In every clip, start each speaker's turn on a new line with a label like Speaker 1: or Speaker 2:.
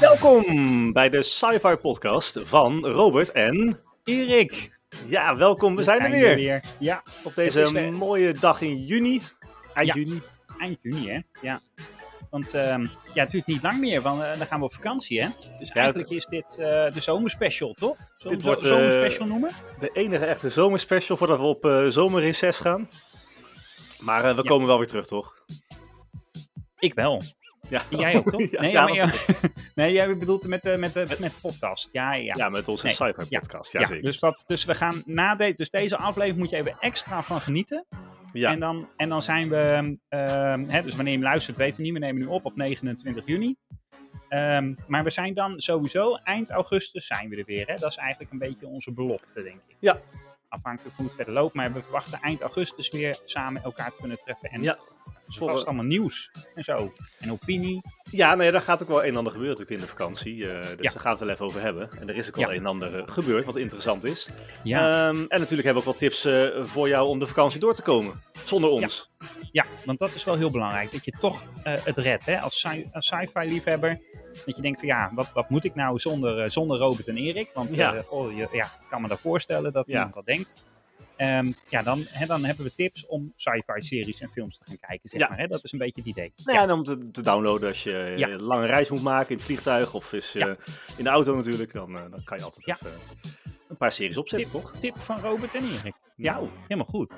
Speaker 1: Welkom bij de Sci-Fi Podcast van Robert en Erik. Ja, welkom. We, zijn, er weer.
Speaker 2: Ja,
Speaker 1: Op
Speaker 2: Het
Speaker 1: deze
Speaker 2: is weer-
Speaker 1: mooie dag in juni. Eind
Speaker 2: Ja.
Speaker 1: juni.
Speaker 2: eind juni, hè? Ja. Want ehm, ja, het duurt niet lang meer, want eh, dan gaan we op vakantie, hè? Dus eigenlijk is dit eh, de zomerspecial, toch? Zullen
Speaker 1: Dit
Speaker 2: we
Speaker 1: wordt, eh,
Speaker 2: zo- zomerspecial noemen?
Speaker 1: De enige echte zomerspecial voordat we op eh zomerreces gaan. Maar eh, we
Speaker 2: Ja.
Speaker 1: komen wel weer terug, toch?
Speaker 2: Ik wel.
Speaker 1: Ja,
Speaker 2: En jij ook, toch?
Speaker 1: Ja,
Speaker 2: nee,
Speaker 1: ja,
Speaker 2: maar, ja, nee, jij bedoelt met, eh, met, eh, met de podcast. Ja, ja.
Speaker 1: ja, met onze
Speaker 2: Nee.
Speaker 1: Sci-Fi
Speaker 2: Ja.
Speaker 1: Podcast.
Speaker 2: Ja,
Speaker 1: Ja, zeker.
Speaker 2: dus, dat, dus we gaan na de, dus deze aflevering moet je even extra van genieten.
Speaker 1: Ja.
Speaker 2: En, dan, en dan zijn we, ehm, hè, dus wanneer je hem luistert, weten we niet. We nemen nu op op 29 juni. Ehm, maar we zijn dan sowieso eind augustus zijn we er weer. Hè? Dat is eigenlijk een beetje onze belofte, denk ik.
Speaker 1: Ja.
Speaker 2: Afhankelijk van hoe het verder loopt. Maar we verwachten eind augustus weer samen elkaar te kunnen treffen. En
Speaker 1: Ja.
Speaker 2: dus
Speaker 1: Volgende-
Speaker 2: vast allemaal nieuws en zo. En opinie.
Speaker 1: Ja, nee, daar gaat ook wel een en ander gebeuren natuurlijk in de vakantie. eh, dus
Speaker 2: Ja.
Speaker 1: daar gaan we het wel even over hebben. En er is ook
Speaker 2: Ja.
Speaker 1: wel een en ander eh, gebeurd wat interessant is.
Speaker 2: Ja.
Speaker 1: Ehm, en natuurlijk hebben we ook wat tips eh, voor jou om de vakantie door te komen. Zonder ons.
Speaker 2: Ja, want dat is wel heel belangrijk. Dat je toch eh, het redt. Hè? Als, sci- als sci-fi liefhebber. Dat je denkt van ja, wat, wat moet ik nou zonder, eh, zonder Robert en Erik? Want
Speaker 1: Ja.
Speaker 2: ja. oh, je, ja, ik kan me daar voorstellen dat
Speaker 1: Ja.
Speaker 2: iemand dat denkt. Ehm, ja, dan, hè, dan hebben we tips om sci-fi series en films te gaan kijken. Zeg
Speaker 1: Ja.
Speaker 2: maar, hè? Dat is een beetje het idee.
Speaker 1: Nou ja, en om te, te downloaden als je eh,
Speaker 2: Ja.
Speaker 1: een lange reis moet maken in het vliegtuig of is, eh,
Speaker 2: Ja.
Speaker 1: in de auto natuurlijk. Dan, eh, dan kan je altijd
Speaker 2: Ja.
Speaker 1: even een paar series opzetten, toch?
Speaker 2: Tip van Robert en Erik. Ja,
Speaker 1: Nou.
Speaker 2: helemaal goed.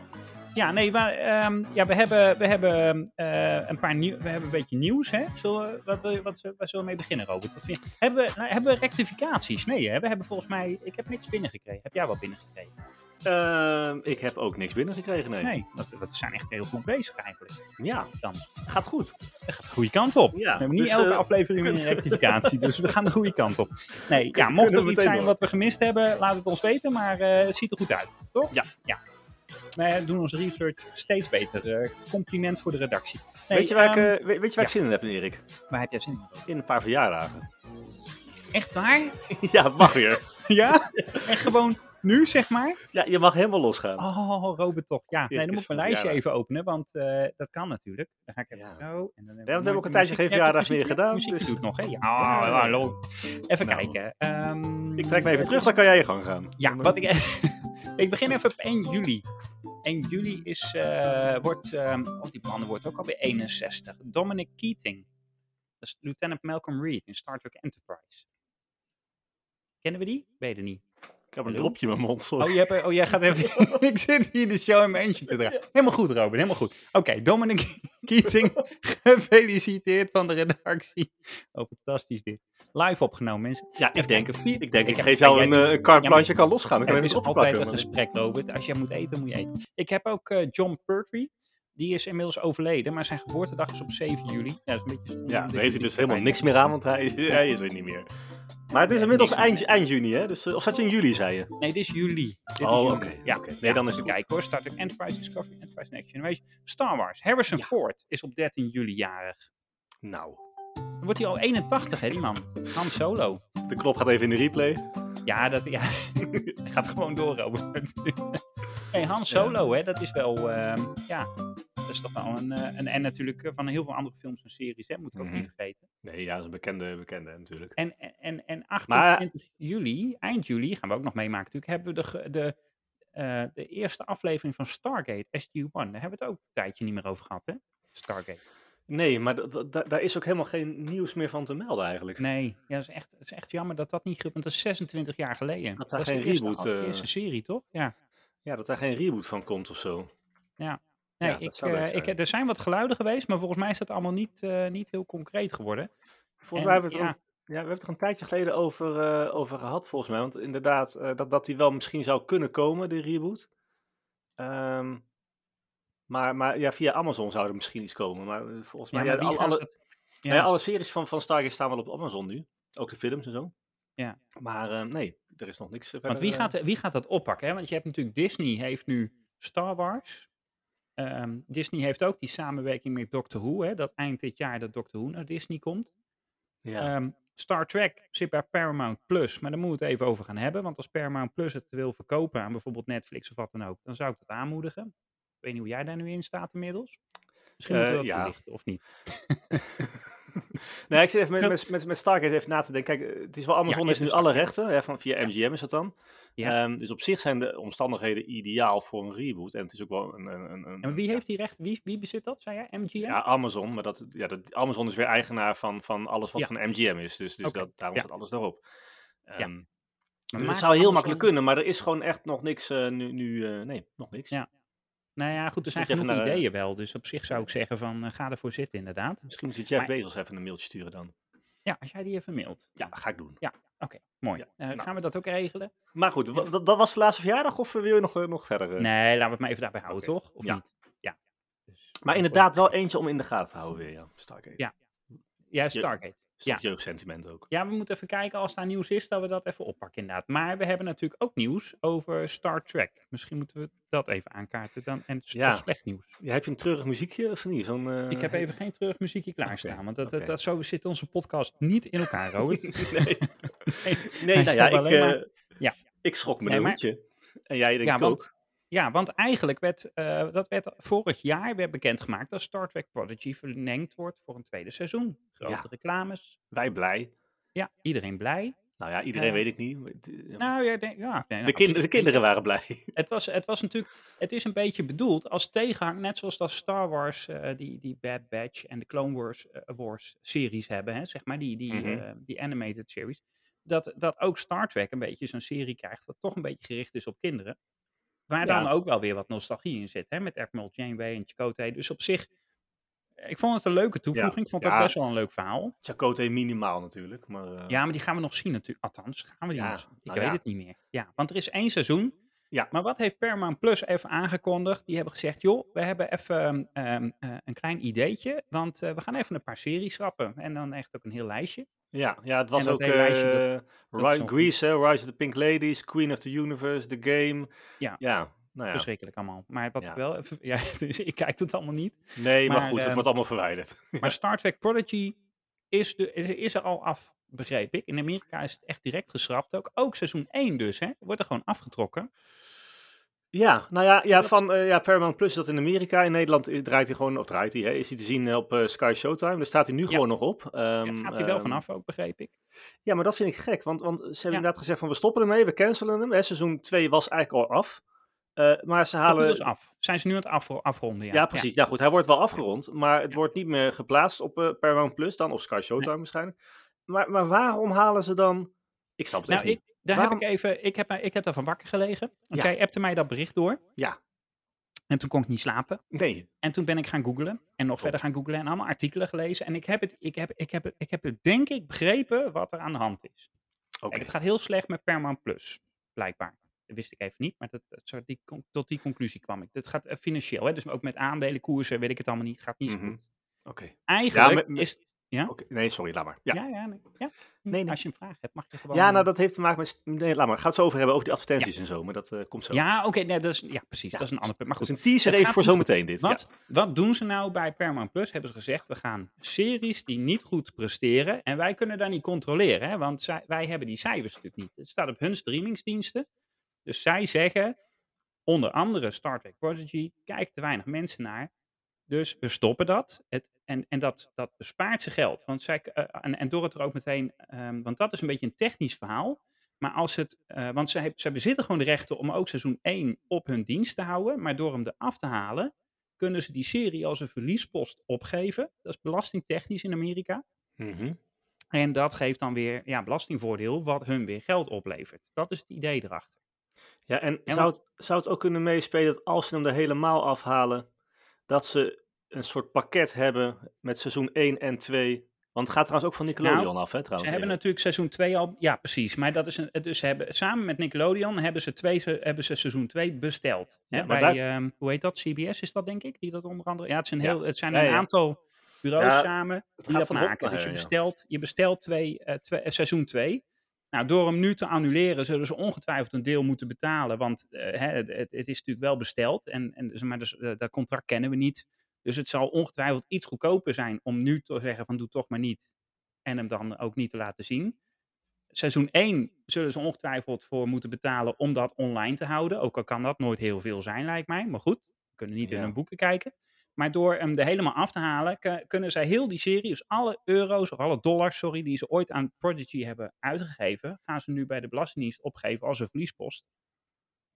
Speaker 2: Ja, nee, maar, ehm, ja, we hebben, we hebben eh, een paar nieuw, we hebben een beetje nieuws, hè? Zullen we, wat, wil je- wat, waar zullen we mee beginnen, Robert? Wat vind je? Hebben, we, nou, hebben we rectificaties? Nee, hè? we hebben volgens mij, ik heb niks binnengekregen. Heb jij wat binnengekregen?
Speaker 1: Ehm, ik heb ook niks binnengekregen, nee.
Speaker 2: Nee, want we zijn echt heel goed bezig eigenlijk.
Speaker 1: Ja,
Speaker 2: Dan
Speaker 1: gaat goed.
Speaker 2: dat gaat de goede kant op.
Speaker 1: Ja,
Speaker 2: we hebben niet
Speaker 1: dus,
Speaker 2: elke
Speaker 1: eh,
Speaker 2: aflevering meer een rectificatie, dus we gaan de goede kant op. Nee, ja, mocht
Speaker 1: Kunnen we
Speaker 2: er iets
Speaker 1: meteen
Speaker 2: zijn
Speaker 1: door.
Speaker 2: wat we gemist hebben, laat het ons weten, maar eh, het ziet er goed uit, toch?
Speaker 1: Ja.
Speaker 2: ja. Wij doen onze research steeds beter. Eh, compliment voor de redactie. Nee,
Speaker 1: weet je waar,
Speaker 2: ehm,
Speaker 1: ik, eh, weet, weet je waar ik zin in heb, Erik?
Speaker 2: Waar heb jij zin in?
Speaker 1: In een paar verjaardagen.
Speaker 2: Echt waar?
Speaker 1: ja, het mag weer.
Speaker 2: ja? En gewoon nu, zeg maar?
Speaker 1: Ja, je mag helemaal losgaan.
Speaker 2: Oh, Robert toch. Ja, nee,
Speaker 1: het
Speaker 2: dan
Speaker 1: is
Speaker 2: moet ik mijn
Speaker 1: mijn
Speaker 2: lijstje
Speaker 1: verjaardag.
Speaker 2: even openen, want eh, dat kan natuurlijk. Dan ga ik even
Speaker 1: Ja.
Speaker 2: zo. En dan
Speaker 1: we hebben ook een
Speaker 2: muziekje-
Speaker 1: tijdje geen
Speaker 2: Ja,
Speaker 1: verjaardag meer
Speaker 2: muziekje-
Speaker 1: gedaan,
Speaker 2: Muziekje
Speaker 1: dus-
Speaker 2: doet nog, hè? Ja,
Speaker 1: Ja.
Speaker 2: hallo. Even
Speaker 1: Nou.
Speaker 2: kijken. Ehm,
Speaker 1: Ik trek me even terug, dan kan jij je gang gaan.
Speaker 2: Ja,
Speaker 1: Dan, eh,
Speaker 2: wat ik... ik begin even op 1 juli. 1 juli is, eh, wordt... ehm, oh, die man wordt ook alweer 61. Dominic Keating. Dat is Lieutenant Malcolm Reed in Star Trek Enterprise. Kennen we die? Weet je niet.
Speaker 1: Ik heb een
Speaker 2: Hallo?
Speaker 1: dropje in mijn mond, sorry.
Speaker 2: Oh, je hebt, oh, jij gaat even. ik zit hier de show in mijn eentje te draaien. Helemaal goed, Robin, helemaal goed. Oké, Dominic Keating, gefeliciteerd van de redactie. Oh, fantastisch dit. Live opgenomen, mensen.
Speaker 1: Ja, ik
Speaker 2: Even
Speaker 1: denk,
Speaker 2: kijken, vier-
Speaker 1: ik denk, ik
Speaker 2: heb-
Speaker 1: geef jou
Speaker 2: ja,
Speaker 1: een,
Speaker 2: jij-
Speaker 1: eh, een carte
Speaker 2: ja,
Speaker 1: blanche, je kan losgaan. Dan kan je
Speaker 2: Het is
Speaker 1: even
Speaker 2: altijd
Speaker 1: opplakken.
Speaker 2: een
Speaker 1: maar-
Speaker 2: gesprek, Robert. Als jij moet eten, moet je eten. Ik heb ook eh, John Pertwee. Die is inmiddels overleden, maar zijn geboortedag is op 7 juli. Ja, dat is een beetje...
Speaker 1: Ja, daar heeft hij dus helemaal niks meer aan, want hij is, hij is er niet meer. Maar het is
Speaker 2: Nee,
Speaker 1: inmiddels
Speaker 2: niks
Speaker 1: eind,
Speaker 2: meer.
Speaker 1: eind juni, hè? Dus, eh, of zat je in juli, zei je?
Speaker 2: Nee, dit is juli. Dit
Speaker 1: Oh,
Speaker 2: is juli.
Speaker 1: oké,
Speaker 2: Ja,
Speaker 1: oké. Nee, dan
Speaker 2: ja,
Speaker 1: is
Speaker 2: even
Speaker 1: het goed.
Speaker 2: kijken hoor. Star Trek Enterprise, Discovery, Enterprise, Next Generation. Star Wars. Harrison Ford is op 13 juli jarig.
Speaker 1: Nou,
Speaker 2: Dan wordt hij al 81, hè, die man. Han Solo.
Speaker 1: de knop gaat even in de replay.
Speaker 2: Ja, dat ja. Hij gaat gewoon door, Robert. hey, Han Solo, hè, dat is wel... ehm, ja, dat is toch wel een... eh, een en natuurlijk eh, van heel veel andere films en series, hè. Moeten we ook
Speaker 1: Mhm.
Speaker 2: niet vergeten.
Speaker 1: Nee, ja, dat is een bekende, bekende natuurlijk.
Speaker 2: En, en, en
Speaker 1: Maar-
Speaker 2: 28 juli, eind juli, gaan we ook nog meemaken natuurlijk, hebben we de, ge- de, eh, de eerste aflevering van Stargate SG-1. Daar hebben we het ook een tijdje niet meer over gehad, hè? Stargate.
Speaker 1: Nee, maar dat- dat- daar is ook helemaal geen nieuws meer van te melden eigenlijk.
Speaker 2: Nee, ja, dat, is echt, dat is echt jammer dat dat niet... ge- Want dat is 26 jaar geleden.
Speaker 1: Dat daar
Speaker 2: is de
Speaker 1: geen
Speaker 2: eerste,
Speaker 1: reboot,
Speaker 2: af-
Speaker 1: eh,
Speaker 2: eerste serie, toch? Ja.
Speaker 1: Ja, dat daar geen reboot van komt of zo.
Speaker 2: Nee,
Speaker 1: Ja, dat
Speaker 2: ik,
Speaker 1: zou leuk
Speaker 2: eh, ik,
Speaker 1: zijn.
Speaker 2: er zijn wat geluiden geweest, maar volgens mij is dat allemaal niet, eh, niet heel concreet geworden.
Speaker 1: Volgens
Speaker 2: En,
Speaker 1: mij hebben we het
Speaker 2: ja.
Speaker 1: ook- ja, we hebben het er een tijdje geleden over, eh, over gehad, volgens mij. Want inderdaad, eh, dat, dat die wel misschien zou kunnen komen, de reboot. Ehm, maar maar ja, via Amazon zou er misschien iets komen. Maar eh, volgens mij, ja,
Speaker 2: wie
Speaker 1: alle,
Speaker 2: gaat
Speaker 1: alle-
Speaker 2: het-
Speaker 1: nou ja, alle series van, van Stargate staan wel op Amazon nu. Ook de films en zo.
Speaker 2: Ja.
Speaker 1: Maar eh, nee, er is nog niks eh, verder.
Speaker 2: Want wie
Speaker 1: eh,
Speaker 2: gaat, wie gaat dat oppakken? Hè? Want je hebt natuurlijk Disney heeft nu Star Wars. Ehm, Disney heeft ook die samenwerking met Doctor Who. Hè? Dat eind dit jaar dat Doctor Who naar Disney komt.
Speaker 1: Ja.
Speaker 2: Ehm, Star Trek zit bij Paramount Plus. Maar daar moeten we het even over gaan hebben. Want als Paramount Plus het wil verkopen aan bijvoorbeeld Netflix of wat dan ook. Dan zou ik dat aanmoedigen. Ik weet niet hoe jij daar nu in staat inmiddels. Misschien moeten we
Speaker 1: Eh,
Speaker 2: dat
Speaker 1: ja.
Speaker 2: toelichten of niet.
Speaker 1: Nee, ik zit even met,
Speaker 2: Dat-
Speaker 1: met, met, met Stargate even na te denken. Kijk, eh, het is wel Amazon
Speaker 2: Ja,
Speaker 1: heeft
Speaker 2: is
Speaker 1: nu
Speaker 2: een
Speaker 1: alle
Speaker 2: Stargate.
Speaker 1: rechten, hè, van, via MGM is dat dan.
Speaker 2: Ja.
Speaker 1: Ehm, dus op zich zijn de omstandigheden ideaal voor een reboot. En het is ook wel een... een, een, een
Speaker 2: En wie heeft die recht? Wie, wie bezit dat, zei jij? MGM?
Speaker 1: Ja, Amazon. Maar dat, ja, dat, Amazon is weer eigenaar van, van alles wat
Speaker 2: Ja.
Speaker 1: van MGM is. Dus, dus
Speaker 2: Oké,
Speaker 1: dat, daarom
Speaker 2: ja.
Speaker 1: staat alles daarop. Ehm
Speaker 2: Maar
Speaker 1: dus het
Speaker 2: maakt
Speaker 1: zou heel
Speaker 2: Amazon-
Speaker 1: makkelijk kunnen, maar er is gewoon echt nog niks eh, nu. nu eh, nee, nog niks.
Speaker 2: Ja. Nou ja, goed, er
Speaker 1: Dus
Speaker 2: zijn
Speaker 1: dat je
Speaker 2: genoeg
Speaker 1: even naar, eh,
Speaker 2: ideeën wel. Dus op zich zou ik zeggen van, eh, ga ervoor zitten inderdaad.
Speaker 1: Misschien moet je Jeff
Speaker 2: Maar-
Speaker 1: Bezos even een mailtje sturen dan.
Speaker 2: Ja, als jij die even mailt.
Speaker 1: Ja, ga ik doen.
Speaker 2: Oké, mooi.
Speaker 1: Ja,
Speaker 2: Eh,
Speaker 1: nou.
Speaker 2: Gaan we dat ook regelen?
Speaker 1: Maar goed, wa- dat, dat was de laatste verjaardag of eh, wil je nog, eh, nog verder? eh?
Speaker 2: Nee, laten we het maar even daarbij houden, toch? Of
Speaker 1: Ja.
Speaker 2: niet? Ja. Dus-
Speaker 1: Maar inderdaad wel eentje om in de gaten te houden weer, ja. Stargate.
Speaker 2: Ja. Ja,
Speaker 1: je-
Speaker 2: Stargate.
Speaker 1: Ja.
Speaker 2: Ja.
Speaker 1: jeugdsentiment ook.
Speaker 2: Ja, we moeten even kijken als daar nieuws is, dat we dat even oppakken inderdaad. Maar we hebben natuurlijk ook nieuws over Star Trek. Misschien moeten we dat even aankaarten dan. En het is
Speaker 1: Ja.
Speaker 2: toch slecht nieuws.
Speaker 1: Ja, heb je een treurig muziekje of niet? Zo'n, eh,
Speaker 2: Ik heb even geen terugmuziekje klaarstaan,
Speaker 1: Oké,
Speaker 2: want dat, dat,
Speaker 1: oké.
Speaker 2: dat, zo zit onze podcast niet in elkaar, Robert.
Speaker 1: nee.
Speaker 2: Nee.
Speaker 1: nee, nou ja,
Speaker 2: Ik heb
Speaker 1: ik,
Speaker 2: alleen maar-
Speaker 1: eh,
Speaker 2: Ja.
Speaker 1: ik schrok me
Speaker 2: Nee,
Speaker 1: een
Speaker 2: maar-
Speaker 1: hoedje. En jij denkt
Speaker 2: Ja,
Speaker 1: ook.
Speaker 2: want- Ja, want eigenlijk werd eh, dat werd vorig jaar werd bekendgemaakt dat Star Trek Prodigy verlengd wordt voor een tweede seizoen. Grote
Speaker 1: Ja.
Speaker 2: reclames.
Speaker 1: Wij blij.
Speaker 2: Ja, iedereen blij.
Speaker 1: Nou ja, iedereen
Speaker 2: Eh,
Speaker 1: weet ik niet. maar het, eh,
Speaker 2: Nou ja, ik denk- ja nee, nou,
Speaker 1: de,
Speaker 2: op
Speaker 1: kind,
Speaker 2: zich-
Speaker 1: de kinderen waren blij.
Speaker 2: Het was, het was natuurlijk, het is een beetje bedoeld als tegenhang, net zoals dat Star Wars, eh, die, die Bad Batch en de Clone Wars, eh, Wars series hebben, hè, zeg maar, die, die,
Speaker 1: Mhm.
Speaker 2: eh, die animated series. Dat, dat ook Star Trek een beetje zo'n serie krijgt, wat toch een beetje gericht is op kinderen. Waar dan
Speaker 1: Ja.
Speaker 2: ook wel weer wat nostalgie in zit, hè, met Admiral Janeway en Chakotay. Dus op zich, ik vond het een leuke toevoeging, ik vond het
Speaker 1: Ja.
Speaker 2: ook best wel een leuk verhaal.
Speaker 1: Chakotay minimaal natuurlijk, maar... eh,
Speaker 2: Ja, maar die gaan we nog zien natuurlijk. Althans, gaan we die
Speaker 1: Ja,
Speaker 2: nog zien. Ik
Speaker 1: nou
Speaker 2: weet
Speaker 1: ja.
Speaker 2: het niet meer. Ja, want er is één seizoen.
Speaker 1: Ja.
Speaker 2: Maar wat heeft Paramount Plus even aangekondigd? Die hebben gezegd, joh, we hebben even ehm, eh, een klein ideetje. Want eh, we gaan even een paar series schrappen. En dan echt ook een heel lijstje.
Speaker 1: Ja, ja het was
Speaker 2: dat
Speaker 1: ook
Speaker 2: hele lijstje, dat-
Speaker 1: eh Ri-
Speaker 2: is nog
Speaker 1: Grease, hè, Rise of the Pink Ladies, Queen of the Universe, The Game.
Speaker 2: Ja. Dus,
Speaker 1: ja nou ja.
Speaker 2: Verschrikkelijk allemaal. Maar wat
Speaker 1: Ja.
Speaker 2: ik wel even... Ja, dus ik kijk het allemaal niet.
Speaker 1: Nee, maar,
Speaker 2: Maar,
Speaker 1: goed, het
Speaker 2: ehm,
Speaker 1: wordt allemaal verwijderd.
Speaker 2: Maar Star Trek Prodigy is, de, is- is er al af, begreep ik. In Amerika is het echt direct geschrapt ook. Ook seizoen 1 dus, hè. Wordt er gewoon afgetrokken.
Speaker 1: Ja, nou ja, ja
Speaker 2: Dat is-
Speaker 1: van eh, ja, Paramount Plus is dat in Amerika. In Nederland i- draait hij gewoon, of draait hij, hè, is hij te zien op eh, Sky Showtime. Daar staat hij nu
Speaker 2: Ja.
Speaker 1: gewoon nog op.
Speaker 2: Ja,
Speaker 1: Ehm,
Speaker 2: gaat hij wel
Speaker 1: ehm,
Speaker 2: vanaf ook, begreep ik.
Speaker 1: Ja, maar dat vind ik gek, want, want ze hebben
Speaker 2: Ja.
Speaker 1: inderdaad gezegd van we stoppen ermee, we cancelen hem. Hè, seizoen 2 was eigenlijk al af. Eh, maar ze
Speaker 2: Zo goed
Speaker 1: halen...
Speaker 2: als dus af. Zijn ze nu aan het afro- afronden? Ja,
Speaker 1: Ja, precies. Nou goed, hij wordt wel afgerond, maar het
Speaker 2: Ja.
Speaker 1: wordt niet meer geplaatst op eh, Paramount Plus, dan op Sky Showtime waarschijnlijk. Maar, maar waarom halen ze dan... Ik snap het
Speaker 2: Nou,
Speaker 1: echt niet.
Speaker 2: ik, daar
Speaker 1: Waarom-
Speaker 2: heb ik even, ik heb, mij- ik heb daarvan wakker gelegen. Want
Speaker 1: Ja.
Speaker 2: jij appte mij dat bericht door.
Speaker 1: Ja.
Speaker 2: En toen kon ik niet slapen.
Speaker 1: Nee,
Speaker 2: En toen ben ik gaan googlen. En
Speaker 1: Oh.
Speaker 2: nog verder gaan googlen. En allemaal artikelen gelezen. En ik heb het, ik heb, ik heb, het- ik heb het denk ik begrepen wat er aan de hand is.
Speaker 1: oké.
Speaker 2: Kijk, het gaat heel slecht met Paramount Plus. Blijkbaar. Dat wist ik even niet. Maar dat, dat, zo- die, con- tot die conclusie kwam ik. Dat gaat eh, financieel. Hè? Dus ook met aandelen, koersen, weet ik het allemaal niet. Gaat niet zo
Speaker 1: Mhm.
Speaker 2: goed.
Speaker 1: Oké.
Speaker 2: Eigenlijk
Speaker 1: met- met-
Speaker 2: is...
Speaker 1: Oké. Nee, sorry, laat maar. Ja.
Speaker 2: Ja, ja, nee, ja.
Speaker 1: Nee, nee.
Speaker 2: Als je een vraag hebt, mag je gewoon...
Speaker 1: Ja,
Speaker 2: eh,
Speaker 1: nou dat heeft te maken met. Nee, laat maar. Gaan we het zo over hebben over die advertenties en zo. Maar dat eh, komt zo.
Speaker 2: Ja, oké, nee, dat is, ja, precies.
Speaker 1: Ja,
Speaker 2: Dat is een ander punt. Maar
Speaker 1: dat is
Speaker 2: goed,
Speaker 1: een teaser
Speaker 2: het
Speaker 1: even
Speaker 2: gaat
Speaker 1: voor
Speaker 2: niet
Speaker 1: zometeen dit.
Speaker 2: wat, wat doen ze nou bij Paramount Plus? Hebben ze gezegd, we gaan series die niet goed presteren. En wij kunnen daar niet controleren, hè, want zij, wij hebben die cijfers natuurlijk niet. Het staat op hun streamingsdiensten. Dus zij zeggen, onder andere Star Trek Prodigy, kijken te weinig mensen naar. Dus we stoppen dat. Het, en en dat, dat bespaart ze geld. Want zij, eh, en, en door het er ook meteen, ehm, want dat is een beetje een technisch verhaal. Maar als het, eh, want zij, zij bezitten gewoon de rechten om ook seizoen 1 op hun dienst te houden. Maar door hem eraf te halen, kunnen ze die serie als een verliespost opgeven. Dat is belastingtechnisch in Amerika.
Speaker 1: Ja.
Speaker 2: En dat geeft dan weer ja, belastingvoordeel, wat hun weer geld oplevert. Dat is het idee erachter.
Speaker 1: ja en
Speaker 2: Ja,
Speaker 1: zou, het, zou het ook kunnen meespelen dat als ze hem er helemaal afhalen, dat ze een soort pakket hebben met seizoen 1 en 2. Want het gaat trouwens ook van Nickelodeon
Speaker 2: Nou,
Speaker 1: af, hè?
Speaker 2: Ze
Speaker 1: Trouwens.
Speaker 2: hebben
Speaker 1: Erik.
Speaker 2: natuurlijk seizoen 2 al. Ja, precies. Maar dat is een, dus ze hebben, samen met Nickelodeon hebben ze, twee, se- hebben ze seizoen 2 besteld.
Speaker 1: Ja,
Speaker 2: Hè,
Speaker 1: maar
Speaker 2: bij, ehm, hoe heet dat? CBS is dat, denk ik? Die dat onder andere. Ja, het zijn,
Speaker 1: Ja.
Speaker 2: heel, het zijn
Speaker 1: Ja,
Speaker 2: een
Speaker 1: ja.
Speaker 2: aantal bureaus
Speaker 1: Ja,
Speaker 2: samen die
Speaker 1: gaat
Speaker 2: dat
Speaker 1: van hop
Speaker 2: maken.
Speaker 1: naar
Speaker 2: Dus je
Speaker 1: her, ja.
Speaker 2: bestelt, je bestelt twee, eh, twee- eh, seizoen 2. Nou, door hem nu te annuleren, zullen ze ongetwijfeld een deel moeten betalen. Want eh, hè, het, het is natuurlijk wel besteld. En, en, dus- maar dus, eh, dat contract kennen we niet. Dus het zal ongetwijfeld iets goedkoper zijn om nu te zeggen van doe toch maar niet. En hem dan ook niet te laten zien. Seizoen 1 zullen ze ongetwijfeld voor moeten betalen om dat online te houden. Ook al kan dat nooit heel veel zijn, lijkt mij. Maar goed, we kunnen niet in
Speaker 1: Ja.
Speaker 2: hun boeken kijken. Maar door hem er helemaal af te halen, k- kunnen zij heel die serie, dus alle euro's of alle dollars, sorry, die ze ooit aan Prodigy hebben uitgegeven, gaan ze nu bij de Belastingdienst opgeven als een verliespost.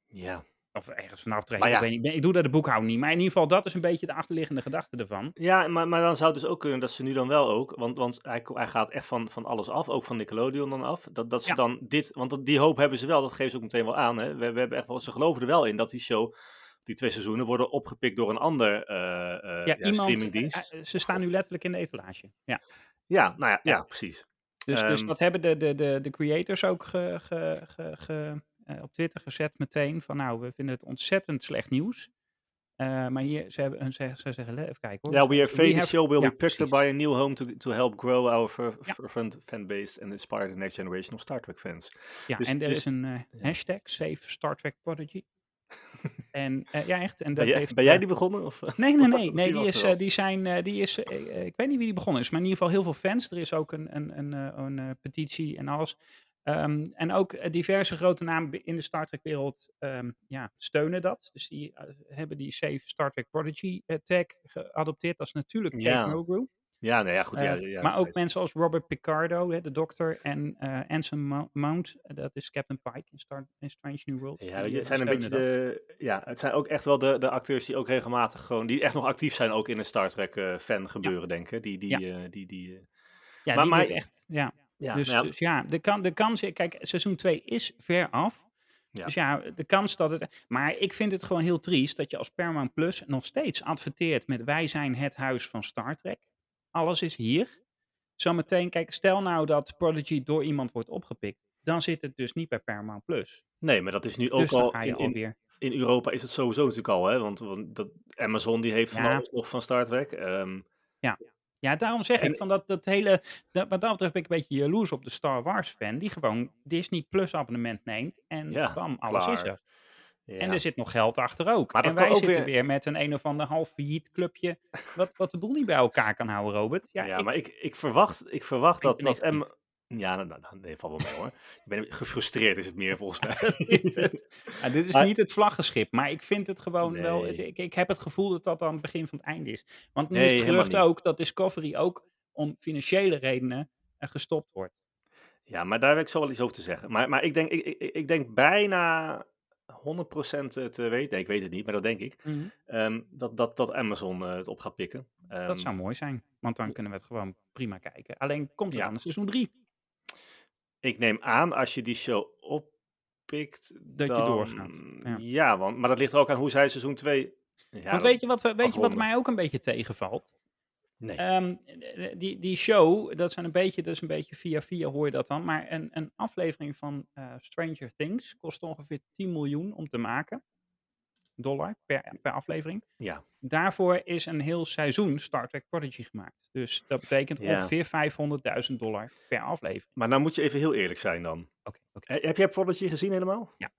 Speaker 1: Ja.
Speaker 2: Of ergens vanaf trekken.
Speaker 1: Maar ja.
Speaker 2: Ik, weet niet, ik ben- ik doe daar de boekhouding niet. Maar in ieder geval, dat is een beetje de achterliggende gedachte ervan.
Speaker 1: Ja, maar, maar dan zou het dus ook kunnen dat ze nu dan wel ook, want, want hij, ko- hij gaat echt van, van alles af, ook van Nickelodeon dan af, dat, dat ze
Speaker 2: Ja.
Speaker 1: dan dit, want dat, die hoop hebben ze wel, dat geven ze ook meteen wel aan. Hè. We, we hebben echt wel, ze geloven er wel in dat die show, die twee seizoenen, worden opgepikt door een ander eh, eh, ja, streamingdienst.
Speaker 2: eh, eh, Ze staan nu letterlijk in de etalage. Ja.
Speaker 1: ja, nou ja, ja.
Speaker 2: ja.
Speaker 1: precies.
Speaker 2: Dus, dus
Speaker 1: Ehm.
Speaker 2: dat hebben de, de, de, de creators ook ge, ge, ge, ge- eh, op Twitter gezet meteen. Van nou, we vinden het ontzettend slecht nieuws. Eh, maar hier, ze, hebben, ze, ze zeggen, even kijken hoor.
Speaker 1: Ja, we are afraid the
Speaker 2: have-
Speaker 1: show will
Speaker 2: ja,
Speaker 1: be picked up
Speaker 2: precies.
Speaker 1: by a new home to, to help grow our f-
Speaker 2: Ja.
Speaker 1: f- fan- fanbase and inspire the next generation of Star Trek fans.
Speaker 2: Ja,
Speaker 1: dus-
Speaker 2: en er
Speaker 1: dus-
Speaker 2: is een eh, hashtag, Save Star Trek Prodigy. en eh, ja, echt. En dat
Speaker 1: Ben jij,
Speaker 2: heeft,
Speaker 1: ben jij
Speaker 2: eh,
Speaker 1: die begonnen? Of? eh?
Speaker 2: Nee, nee, nee.
Speaker 1: Die
Speaker 2: nee
Speaker 1: was
Speaker 2: die,
Speaker 1: er
Speaker 2: is,
Speaker 1: al.
Speaker 2: eh, die zijn, eh, die is, eh, eh, ik weet niet wie die begonnen is, maar in ieder geval heel veel fans. Er is ook een, een, een, eh, een eh, petitie en alles. Ehm, en ook eh, diverse grote namen bi- in de Star Trek wereld ehm, ja, steunen dat. Dus die eh, hebben die Save Star Trek Prodigy eh, tag geadopteerd. Dat is natuurlijk Dave
Speaker 1: Ja,
Speaker 2: Mulgrew.
Speaker 1: Ja, nou ja, goed. ja,
Speaker 2: Eh,
Speaker 1: ja,
Speaker 2: maar ook
Speaker 1: steeds.
Speaker 2: mensen als Robert Picardo, hè, de dokter, en eh Anson Mo- Mount, eh, dat is Captain Pike in, Star, in Strange New Worlds.
Speaker 1: Ja,
Speaker 2: Die,
Speaker 1: weet je, het
Speaker 2: eh,
Speaker 1: zijn een beetje
Speaker 2: steunen dat.
Speaker 1: de. Ja, het zijn ook echt wel de, de acteurs die ook regelmatig gewoon. die echt nog actief zijn ook in een Star Trek eh, fan gebeuren, denk ik. Die, die,
Speaker 2: Ja.
Speaker 1: eh, die, die, eh,
Speaker 2: Ja,
Speaker 1: maar-
Speaker 2: die
Speaker 1: maar-
Speaker 2: doet echt, ja.
Speaker 1: ja,
Speaker 2: dus,
Speaker 1: nou ja,
Speaker 2: dus ja, de, kan, de kans, kijk, seizoen 2 is ver af.
Speaker 1: Ja.
Speaker 2: Dus ja, de kans dat het. Maar ik vind het gewoon heel triest dat je als Paramount Plus nog steeds adverteert met wij zijn het huis van Star Trek. Alles is hier. Zometeen, kijk, stel nou dat Prodigy door iemand wordt opgepikt. Dan zit het dus niet bij Paramount Plus.
Speaker 1: nee, maar dat is nu ook
Speaker 2: dus dan
Speaker 1: al.
Speaker 2: ga je
Speaker 1: In, in,
Speaker 2: alweer.
Speaker 1: in Europa is het sowieso natuurlijk al, hè? Want, want dat, Amazon die heeft van
Speaker 2: Ja.
Speaker 1: alles nog van Star Trek. ehm,
Speaker 2: Ja, daarom zeg
Speaker 1: En-
Speaker 2: ik van dat, dat hele. Dat, wat dat betreft ben ik een beetje jaloers op de Star Wars fan. Die gewoon Disney Plus abonnement neemt. En
Speaker 1: Ja,
Speaker 2: bam, alles is
Speaker 1: klaar.
Speaker 2: er.
Speaker 1: ja.
Speaker 2: En dus, er zit nog geld achter ook.
Speaker 1: Maar dat
Speaker 2: en
Speaker 1: kan
Speaker 2: wij
Speaker 1: ook
Speaker 2: zitten
Speaker 1: weer-
Speaker 2: weer... met een een of ander half failliet clubje. Wat, wat de boel niet bij elkaar kan houden, Robert. Ja,
Speaker 1: Ja,
Speaker 2: ik-
Speaker 1: maar ik, ik verwacht, ik verwacht dat,
Speaker 2: Vind
Speaker 1: dat
Speaker 2: je
Speaker 1: M.
Speaker 2: negatief?
Speaker 1: Ja, nou, nou, nou, nee, valt wel mee hoor. Ik ben gefrustreerd, is het meer volgens mij.
Speaker 2: is het. Ja, Ah, dit is
Speaker 1: Maar-
Speaker 2: niet het vlaggenschip, maar ik vind het gewoon wel.
Speaker 1: Nee.
Speaker 2: Ik, ik heb het gevoel dat dat dan het begin van het einde is. Want nu
Speaker 1: Nee,
Speaker 2: is het
Speaker 1: helemaal
Speaker 2: gerucht
Speaker 1: niet.
Speaker 2: ook dat Discovery ook om financiële redenen eh, gestopt wordt.
Speaker 1: Ja, maar daar heb ik zo wel iets over te zeggen. Maar, maar ik, denk, ik, ik, ik denk bijna 100% te te weten. Nee, ik weet het niet, maar dat denk ik. ehm, dat, dat, dat Amazon eh, het op gaat pikken. Ehm,
Speaker 2: Dat zou mooi zijn, want dan kunnen we het gewoon prima kijken. Alleen komt er
Speaker 1: Ja.
Speaker 2: dan een seizoen 3
Speaker 1: Ik neem aan, als je die show oppikt.
Speaker 2: dat je doorgaat.
Speaker 1: Ja,
Speaker 2: ja.
Speaker 1: want, maar dat ligt er ook aan hoe zij seizoen 2. Ja,
Speaker 2: Want weet je wat, we- weet je wat
Speaker 1: afronden.
Speaker 2: mij ook een beetje tegenvalt?
Speaker 1: Nee.
Speaker 2: Ehm, die, die show, dat, zijn een beetje, dat is een beetje via via hoor je dat dan. Maar een, een aflevering van eh, Stranger Things kost ongeveer 10 miljoen om te maken. Dollar per, per aflevering.
Speaker 1: Ja.
Speaker 2: Daarvoor is een heel seizoen Star Trek Prodigy gemaakt. Dus dat betekent
Speaker 1: Ja.
Speaker 2: ongeveer 500.000 dollar per aflevering.
Speaker 1: Maar nou moet je even heel eerlijk zijn dan.
Speaker 2: Oké, oké.
Speaker 1: Eh, Heb jij Prodigy gezien helemaal?
Speaker 2: Ja.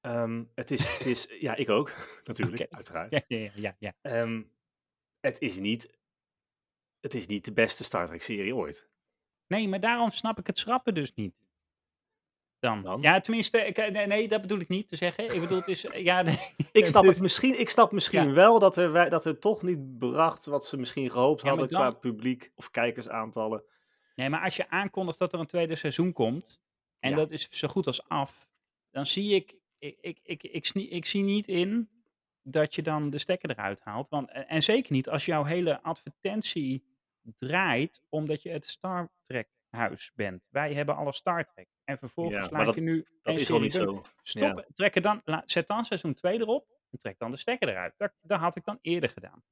Speaker 1: Ehm, het, is, het is, ja, ik ook, natuurlijk,
Speaker 2: Oké.
Speaker 1: uiteraard.
Speaker 2: Ja, ja, ja, ja, ja.
Speaker 1: Ehm, het, is niet, het is niet de beste Star Trek-serie ooit.
Speaker 2: Nee, maar daarom snap ik het schrappen dus niet. Dan.
Speaker 1: Dan?
Speaker 2: Ja, tenminste, ik, eh, nee, nee, dat bedoel ik niet te zeggen. Ik bedoel, het is. eh, Ja, nee.
Speaker 1: Ik snap, het
Speaker 2: Dus-
Speaker 1: misschien, ik snap misschien
Speaker 2: Ja.
Speaker 1: wel dat er, wij- dat er toch niet bracht wat ze misschien gehoopt
Speaker 2: Ja, maar
Speaker 1: hadden
Speaker 2: dan-
Speaker 1: qua publiek of kijkersaantallen.
Speaker 2: Nee, maar als je aankondigt dat er een tweede seizoen komt, en
Speaker 1: Ja.
Speaker 2: dat is zo goed als af, dan zie ik, ik, ik, ik, ik, snie- ik zie niet in dat je dan de stekker eruit haalt. Want, eh, en en zeker niet als jouw hele advertentie draait omdat je het Star Trek huis bent. Wij hebben alle Star Trek. En
Speaker 1: Ja,
Speaker 2: vervolgens
Speaker 1: maar
Speaker 2: laat
Speaker 1: dat-
Speaker 2: je nu
Speaker 1: Dat
Speaker 2: één
Speaker 1: is al niet
Speaker 2: serie doen.
Speaker 1: zo.
Speaker 2: Stop, trek er dan, la- zet dan seizoen 2 erop en trek dan de stekker eruit. Dat, dat had ik dan eerder gedaan.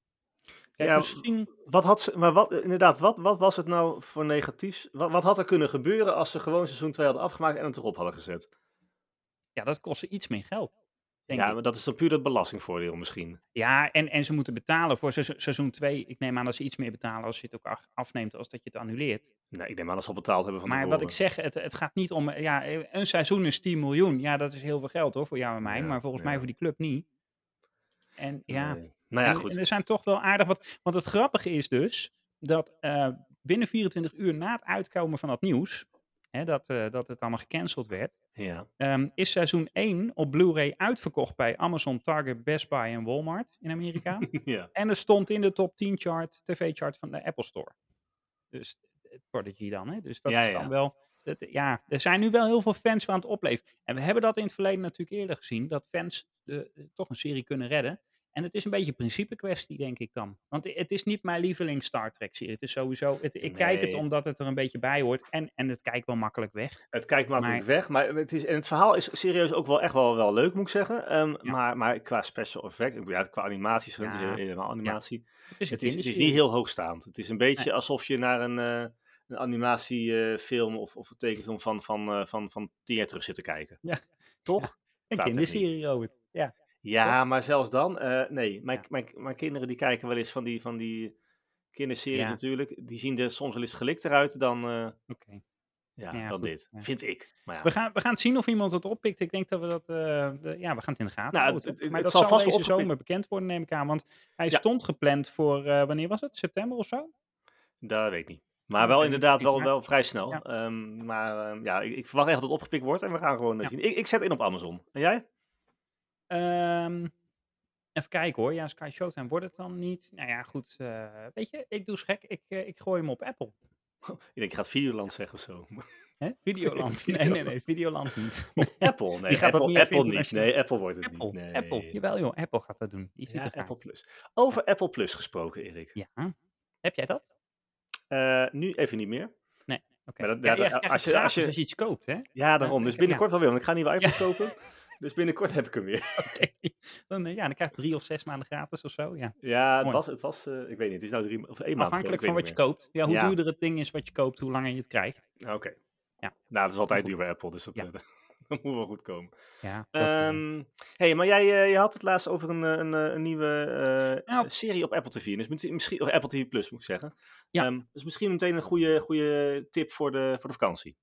Speaker 2: Kijk,
Speaker 1: Ja,
Speaker 2: misschien
Speaker 1: Wat had ze, maar wat, inderdaad, wat, wat was het nou voor negatiefs? Wat, wat had er kunnen gebeuren als ze gewoon seizoen 2 hadden afgemaakt en het erop hadden gezet?
Speaker 2: ja, dat kostte iets meer geld. Denk
Speaker 1: ja,
Speaker 2: ik.
Speaker 1: maar dat is dan puur dat belastingvoordeel misschien.
Speaker 2: Ja, en, en ze moeten betalen voor seizo- seizoen 2. Ik neem aan dat ze iets meer betalen als je het ook af- afneemt als dat je het annuleert.
Speaker 1: Nee, ik neem aan dat ze al betaald hebben van
Speaker 2: maar wat
Speaker 1: tevoren.
Speaker 2: ik zeg, het, het gaat niet om... eh, Ja, eh, een seizoen is 10 miljoen. Ja, dat is heel veel geld hoor, voor jou en mij.
Speaker 1: Ja,
Speaker 2: maar volgens mij
Speaker 1: ja.
Speaker 2: voor die club niet. En ja,
Speaker 1: Nee. Nou ja,
Speaker 2: en- en
Speaker 1: goed.
Speaker 2: er zijn toch wel aardig wat... Want het grappige is dus dat eh, binnen 24 uur na het uitkomen van dat nieuws... hè, dat, eh, dat het allemaal gecanceld werd,
Speaker 1: Ja.
Speaker 2: ehm, is seizoen 1 op Blu-ray uitverkocht bij Amazon, Target, Best Buy en Walmart in Amerika.
Speaker 1: ja.
Speaker 2: en het stond in de top 10 chart, tv-chart van de Apple Store. Dus eh, Prodigy dan, hè? Dus dat
Speaker 1: Ja,
Speaker 2: is dan
Speaker 1: ja.
Speaker 2: wel... dat- ja, er zijn nu wel heel veel fans aan het opleven. En we hebben dat in het verleden natuurlijk eerder gezien, dat fans de, eh, toch een serie kunnen redden. En het is een beetje een principe kwestie, denk ik dan. Want i- het is niet mijn lieveling Star Trek serie. Het is sowieso... Het, ik kijk het
Speaker 1: Nee.
Speaker 2: omdat het er een beetje bij hoort. En, en het kijkt wel makkelijk weg.
Speaker 1: Het kijkt makkelijk weg, maar het, is, en het verhaal is serieus ook wel echt wel, wel leuk, moet ik zeggen. Ehm,
Speaker 2: Ja.
Speaker 1: maar, maar qua special effect, ik bedoel, ja, qua animaties, het is
Speaker 2: Ja.
Speaker 1: helemaal animatie.
Speaker 2: Het is, een
Speaker 1: Het, is, het is
Speaker 2: kinderserie.
Speaker 1: niet heel hoogstaand. Het is een beetje alsof je naar een, eh, een animatiefilm of, of een tekenfilm van, van, eh, van, van tien jaar terug zit te kijken.
Speaker 2: Ja.
Speaker 1: Toch?
Speaker 2: Een
Speaker 1: qua techniek.
Speaker 2: kinderserie, Robert. Ja.
Speaker 1: Ja, maar zelfs dan, eh, nee. Mijn,
Speaker 2: Ja.
Speaker 1: mijn, mijn kinderen die kijken wel eens van die, van die kinderseries
Speaker 2: Ja.
Speaker 1: natuurlijk. Die zien er soms wel eens gelikter uit dan, eh,
Speaker 2: Oké.
Speaker 1: ja,
Speaker 2: Ja,
Speaker 1: dan
Speaker 2: goed,
Speaker 1: dit.
Speaker 2: ja.
Speaker 1: Vind ik. Maar ja.
Speaker 2: We gaan, we gaan het zien of iemand het oppikt. Ik denk dat we dat. eh, de- ja, we gaan het in de gaten
Speaker 1: Nou,
Speaker 2: houden.
Speaker 1: het-
Speaker 2: toch?
Speaker 1: het-
Speaker 2: maar
Speaker 1: het
Speaker 2: dat
Speaker 1: zal vast wel
Speaker 2: deze
Speaker 1: opgepikt-
Speaker 2: zomer bekend worden, neem ik aan. Want hij
Speaker 1: Ja.
Speaker 2: stond gepland voor. eh, wanneer was het? September of zo?
Speaker 1: Dat weet ik niet.
Speaker 2: Ja,
Speaker 1: Maar wel
Speaker 2: oké,
Speaker 1: inderdaad
Speaker 2: prima.
Speaker 1: wel, wel vrij snel.
Speaker 2: Ja.
Speaker 1: Ehm, maar ehm, ja, ik, ik verwacht echt dat het opgepikt wordt en we gaan gewoon eh,
Speaker 2: Ja.
Speaker 1: zien. Ik, ik zet in op Amazon. En jij?
Speaker 2: Ehm, even kijken hoor. Ja, Sky Showtime wordt het dan niet. Nou ja, goed. eh, weet je, ik doe eens gek. Ik, eh, ik gooi hem op Apple.
Speaker 1: Ik denk, je gaat Videoland zeggen of zo.
Speaker 2: Hè? Videoland. Nee, nee, nee. Videoland niet.
Speaker 1: Apple, nee.
Speaker 2: Die gaat dat
Speaker 1: Apple,
Speaker 2: niet even
Speaker 1: Apple niet.
Speaker 2: internationaal-
Speaker 1: Nee, Apple wordt het
Speaker 2: Apple.
Speaker 1: niet. Nee.
Speaker 2: Apple. Jawel joh. Apple gaat dat doen. Die ziet
Speaker 1: Ja,
Speaker 2: er graag.
Speaker 1: Apple Plus. Over Apple Plus gesproken, Erik.
Speaker 2: Ja. Heb jij dat?
Speaker 1: Eh, nu even niet meer.
Speaker 2: Oké.
Speaker 1: Maar dat-
Speaker 2: Ja,
Speaker 1: ja,
Speaker 2: je
Speaker 1: dat-
Speaker 2: krijgt het
Speaker 1: als je-
Speaker 2: gratis
Speaker 1: als je-
Speaker 2: als je iets koopt, hè?
Speaker 1: Ja, daarom. Dus
Speaker 2: ja.
Speaker 1: binnenkort wel weer, want ik ga niet nieuwe
Speaker 2: Ja.
Speaker 1: iPad kopen. Dus binnenkort heb ik hem weer.
Speaker 2: Oké. Dan, eh, ja, dan krijg je drie of zes maanden gratis of zo. Ja.
Speaker 1: Ja, het
Speaker 2: Mooi.
Speaker 1: was, het was eh, ik weet niet, het is nou drie of één maand.
Speaker 2: Afhankelijk van wat je koopt. Ja, hoe
Speaker 1: Ja.
Speaker 2: duurder het ding is wat je koopt, hoe langer je het krijgt.
Speaker 1: koopt. Oké.
Speaker 2: Ja.
Speaker 1: Nou, dat is altijd
Speaker 2: Goed.
Speaker 1: duur bij Apple, dus dat,
Speaker 2: Ja.
Speaker 1: eh, dat moet wel goed komen.
Speaker 2: Ja, dat, eh,
Speaker 1: Ehm hey, maar jij eh, je had het laatst over een, eh, een, eh, een nieuwe eh,
Speaker 2: Nou.
Speaker 1: serie op Apple TV. Dus misschien- misschien, of Apple TV Plus moet ik zeggen.
Speaker 2: Ja.
Speaker 1: Ehm, dus misschien meteen een goede, goede tip voor de, voor de vakantie.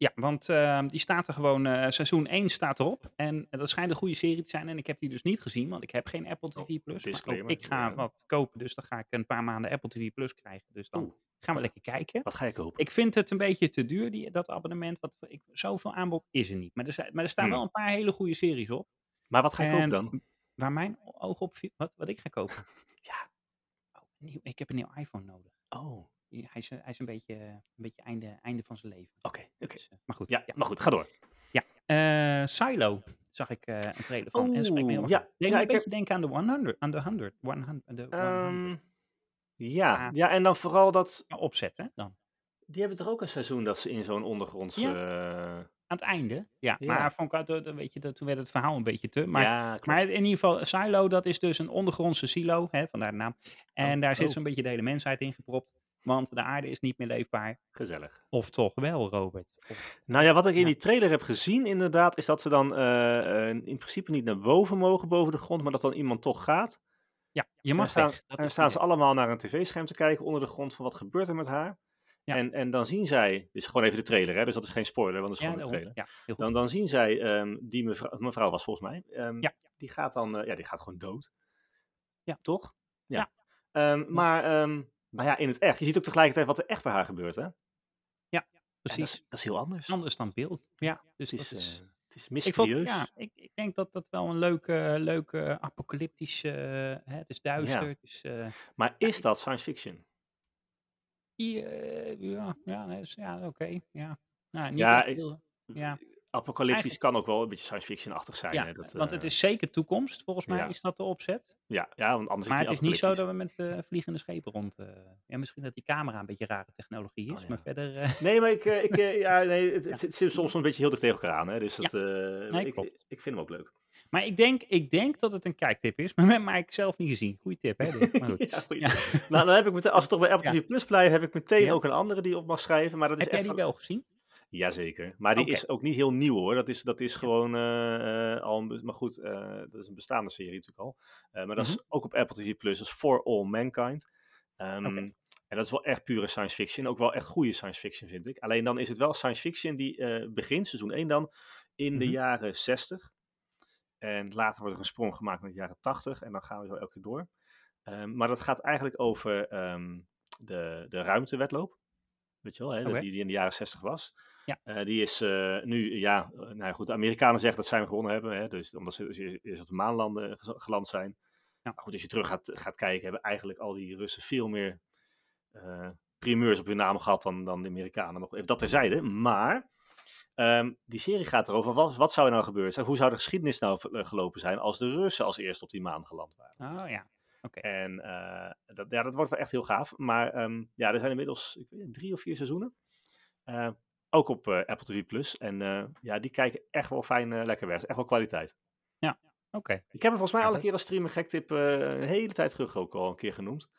Speaker 2: ja want eh, die staat er gewoon, eh, seizoen 1 staat erop. En eh, dat schijnt een goede serie te zijn. En ik heb die dus niet gezien, want ik heb geen Apple TV+. Plus. Maar ook
Speaker 1: Oh, disclaimer,
Speaker 2: ik ga
Speaker 1: ja.
Speaker 2: wat kopen, dus dan ga ik een paar maanden Apple TV+. Plus krijgen. Dus dan
Speaker 1: Oeh.
Speaker 2: gaan we lekker kijken.
Speaker 1: Wat ga je kopen?
Speaker 2: Ik vind het een beetje te duur, die, dat abonnement. Want ik, zoveel aanbod is er niet. Maar er, zijn- maar er staan
Speaker 1: Hmm.
Speaker 2: wel een paar hele goede series op.
Speaker 1: maar wat ga je
Speaker 2: En
Speaker 1: kopen dan?
Speaker 2: Waar mijn oog op viel, wat, wat ik ga kopen.
Speaker 1: Ja.
Speaker 2: Oh, een nieuw- ik heb een nieuw iPhone nodig.
Speaker 1: Oh, oké.
Speaker 2: Ja, Hij is, eh, hij is een beetje, eh, een beetje einde, einde van zijn leven.
Speaker 1: oké.
Speaker 2: Dus, eh, maar goed.
Speaker 1: Ja, maar goed, ga door.
Speaker 2: Eh, Silo zag ik eh, een trailer van. en dat spreekt me heel erg
Speaker 1: Oeh,
Speaker 2: aan.
Speaker 1: ja.
Speaker 2: Deed
Speaker 1: Ja,
Speaker 2: me een
Speaker 1: ik
Speaker 2: beetje denken aan de 100. Aan de 100. 100, de 100.
Speaker 1: Ehm, ja.
Speaker 2: Ah.
Speaker 1: ja, en dan vooral dat...
Speaker 2: Nou, opzet, hè? Dan.
Speaker 1: Die hebben toch ook een seizoen dat ze in zo'n ondergronds...
Speaker 2: Ja.
Speaker 1: eh,
Speaker 2: Aan het einde. Ja.
Speaker 1: Ja.
Speaker 2: Maar vond ik, uit- eh, weet je, dat- toen werd het verhaal een beetje te. Maar,
Speaker 1: ja, klopt.
Speaker 2: maar in ieder geval, Silo, dat is dus een ondergrondse silo. Hè, vandaar de naam. En
Speaker 1: Oh,
Speaker 2: daar zit
Speaker 1: oh.
Speaker 2: zo'n beetje de hele mensheid in gepropt. Want de aarde is niet meer leefbaar.
Speaker 1: Gezellig.
Speaker 2: Of toch wel, Robert? Of-
Speaker 1: Nou ja, wat ik in
Speaker 2: Ja.
Speaker 1: die trailer heb gezien inderdaad, is dat ze dan eh, eh, in principe niet naar boven mogen, boven de grond, maar dat dan iemand toch gaat.
Speaker 2: Ja, je mag
Speaker 1: en staan,
Speaker 2: weg. Dat
Speaker 1: en
Speaker 2: is
Speaker 1: staan
Speaker 2: niet
Speaker 1: ze allemaal naar een tv-scherm te kijken onder de grond van wat gebeurt er met haar.
Speaker 2: Ja.
Speaker 1: En, en dan zien zij, dit is gewoon even de trailer hè, dus dat is geen spoiler, want dat is
Speaker 2: Ja,
Speaker 1: gewoon de
Speaker 2: daarom.
Speaker 1: trailer.
Speaker 2: Ja, heel goed.
Speaker 1: Dan, dan zien zij, ehm, die mevrouw, mevrouw was volgens mij, ehm,
Speaker 2: Ja.
Speaker 1: die gaat dan, eh, ja die gaat gewoon dood.
Speaker 2: Ja.
Speaker 1: Toch? Ja.
Speaker 2: Ja.
Speaker 1: Ehm, maar, ehm, maar ja, in het echt, je ziet ook tegelijkertijd wat er echt bij haar gebeurt hè. En dat is-
Speaker 2: Precies.
Speaker 1: dat, is, heel anders.
Speaker 2: Anders dan beeld. Ja, dus
Speaker 1: het, is,
Speaker 2: dat is...
Speaker 1: eh, het is
Speaker 2: Ik, vond,
Speaker 1: mysterieus.
Speaker 2: ja, ik, ik denk dat dat wel een leuke, leuke apocalyptische... eh, hè, het is duister,
Speaker 1: Ja.
Speaker 2: het is... eh,
Speaker 1: Maar is dat science fiction?
Speaker 2: i- eh, ja, ja, nee, dus, ja oké. ja. Nou, niet
Speaker 1: Ja,
Speaker 2: echt
Speaker 1: ik-
Speaker 2: heel- ja,
Speaker 1: Apocalyptisch
Speaker 2: Eigenlijk-
Speaker 1: kan ook wel een beetje science fiction-achtig zijn.
Speaker 2: ja
Speaker 1: hè? Dat,
Speaker 2: want het
Speaker 1: eh,
Speaker 2: is zeker toekomst, volgens mij
Speaker 1: ja.
Speaker 2: is dat de opzet.
Speaker 1: ja, ja, want anders
Speaker 2: Maar
Speaker 1: is
Speaker 2: het is niet zo
Speaker 1: apocalyptisch.
Speaker 2: dat we met eh, vliegende schepen rond... eh, ja, misschien dat die camera een beetje rare technologie is,
Speaker 1: Oh, ja.
Speaker 2: maar verder... eh,
Speaker 1: Nee, maar ik, eh, ik, eh, ja, nee, het, het zit soms soms een beetje heel dicht tegen elkaar aan. Hè? Dus dat, eh,
Speaker 2: Nee,
Speaker 1: ik,
Speaker 2: klopt.
Speaker 1: ik vind hem ook leuk.
Speaker 2: Maar ik denk, ik denk dat het een kijktip is, maar, maar ik zelf niet gezien. Goeie tip, hè? dit? Maar goed.
Speaker 1: Ja, goeie
Speaker 2: Ja.
Speaker 1: Nou, dan heb ik meteen, als we toch bij Apple
Speaker 2: Ja.
Speaker 1: TV Plus blijven, heb ik meteen
Speaker 2: Ja.
Speaker 1: ook een andere die op mag schrijven. Maar dat is
Speaker 2: Heb jij
Speaker 1: echt
Speaker 2: die
Speaker 1: van-
Speaker 2: wel gezien?
Speaker 1: Jazeker. Maar die
Speaker 2: Oké.
Speaker 1: is ook niet heel nieuw hoor. Dat is, dat is gewoon eh, eh, al een be- Maar goed, eh, dat is een bestaande serie natuurlijk al. Eh, maar dat
Speaker 2: Mhm.
Speaker 1: is ook op Apple TV Plus. Dat is For All Mankind. Ehm,
Speaker 2: Oké.
Speaker 1: En dat is wel echt pure science fiction. Ook wel echt goede science fiction, vind ik. Alleen dan is het wel science fiction die eh, begint, seizoen 1 dan, in de
Speaker 2: Mhm.
Speaker 1: jaren 60. En later wordt er een sprong gemaakt naar de jaren 80. En dan gaan we zo elke keer door. Ehm, maar dat gaat eigenlijk over ehm, de, de ruimtewedloop. Weet je wel, hè,
Speaker 2: Oké.
Speaker 1: die, die in de jaren 60 was.
Speaker 2: Ja.
Speaker 1: Eh, die is eh, nu, ja, eh, nou ja, goed, de Amerikanen zeggen dat zij hem gewonnen hebben. Hè, dus omdat ze ze eerst op de maanlanden gez- geland zijn.
Speaker 2: Ja.
Speaker 1: Maar goed, als je terug gaat, gaat kijken, hebben eigenlijk al die Russen veel meer eh, primeurs op hun naam gehad dan, dan de Amerikanen. Maar goed, even dat terzijde. Maar ehm, die serie gaat erover, wat, wat zou er nou gebeurd zijn? Hoe zou de geschiedenis nou eh, gelopen zijn als de Russen als eerst op die maan geland waren?
Speaker 2: Oh ja.
Speaker 1: En eh, dat, ja, dat wordt wel echt heel gaaf. Maar ehm, ja, er zijn inmiddels ik weet, niet, drie of vier seizoenen. Eh, ook op eh, Apple TV Plus. En eh, ja, die kijken echt wel fijn eh, lekker weg. Is Echt wel kwaliteit.
Speaker 2: Oké.
Speaker 1: Ik heb hem volgens mij
Speaker 2: Ja,
Speaker 1: al een
Speaker 2: dat-
Speaker 1: keer als streamer gek tip een hele tijd terug ook al een keer genoemd.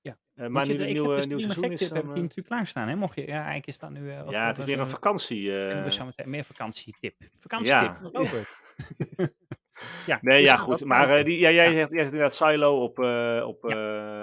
Speaker 2: Ja.
Speaker 1: Eh, maar nu
Speaker 2: Moet je-
Speaker 1: de
Speaker 2: ik heb
Speaker 1: nieuwe,
Speaker 2: dus
Speaker 1: nieuwe
Speaker 2: prima
Speaker 1: seizoen
Speaker 2: gek
Speaker 1: is.
Speaker 2: tip,
Speaker 1: dan,
Speaker 2: heb ik die
Speaker 1: eh,
Speaker 2: natuurlijk klaarstaan, hè? Mocht je, ja, eigenlijk is dat nu... eh, of
Speaker 1: ja,
Speaker 2: dat
Speaker 1: het is weer
Speaker 2: we-
Speaker 1: een vakantie. eh,
Speaker 2: Kunnen we zo meteen meer vakantietip. Vakantietip,
Speaker 1: ja.
Speaker 2: ja. Robert. ja,
Speaker 1: Nee,
Speaker 2: dus
Speaker 1: ja,
Speaker 2: dat-
Speaker 1: goed.
Speaker 2: dat-
Speaker 1: Maar eh, die, ja, jij, Zegt, jij zegt inderdaad silo op, eh, op
Speaker 2: Ja.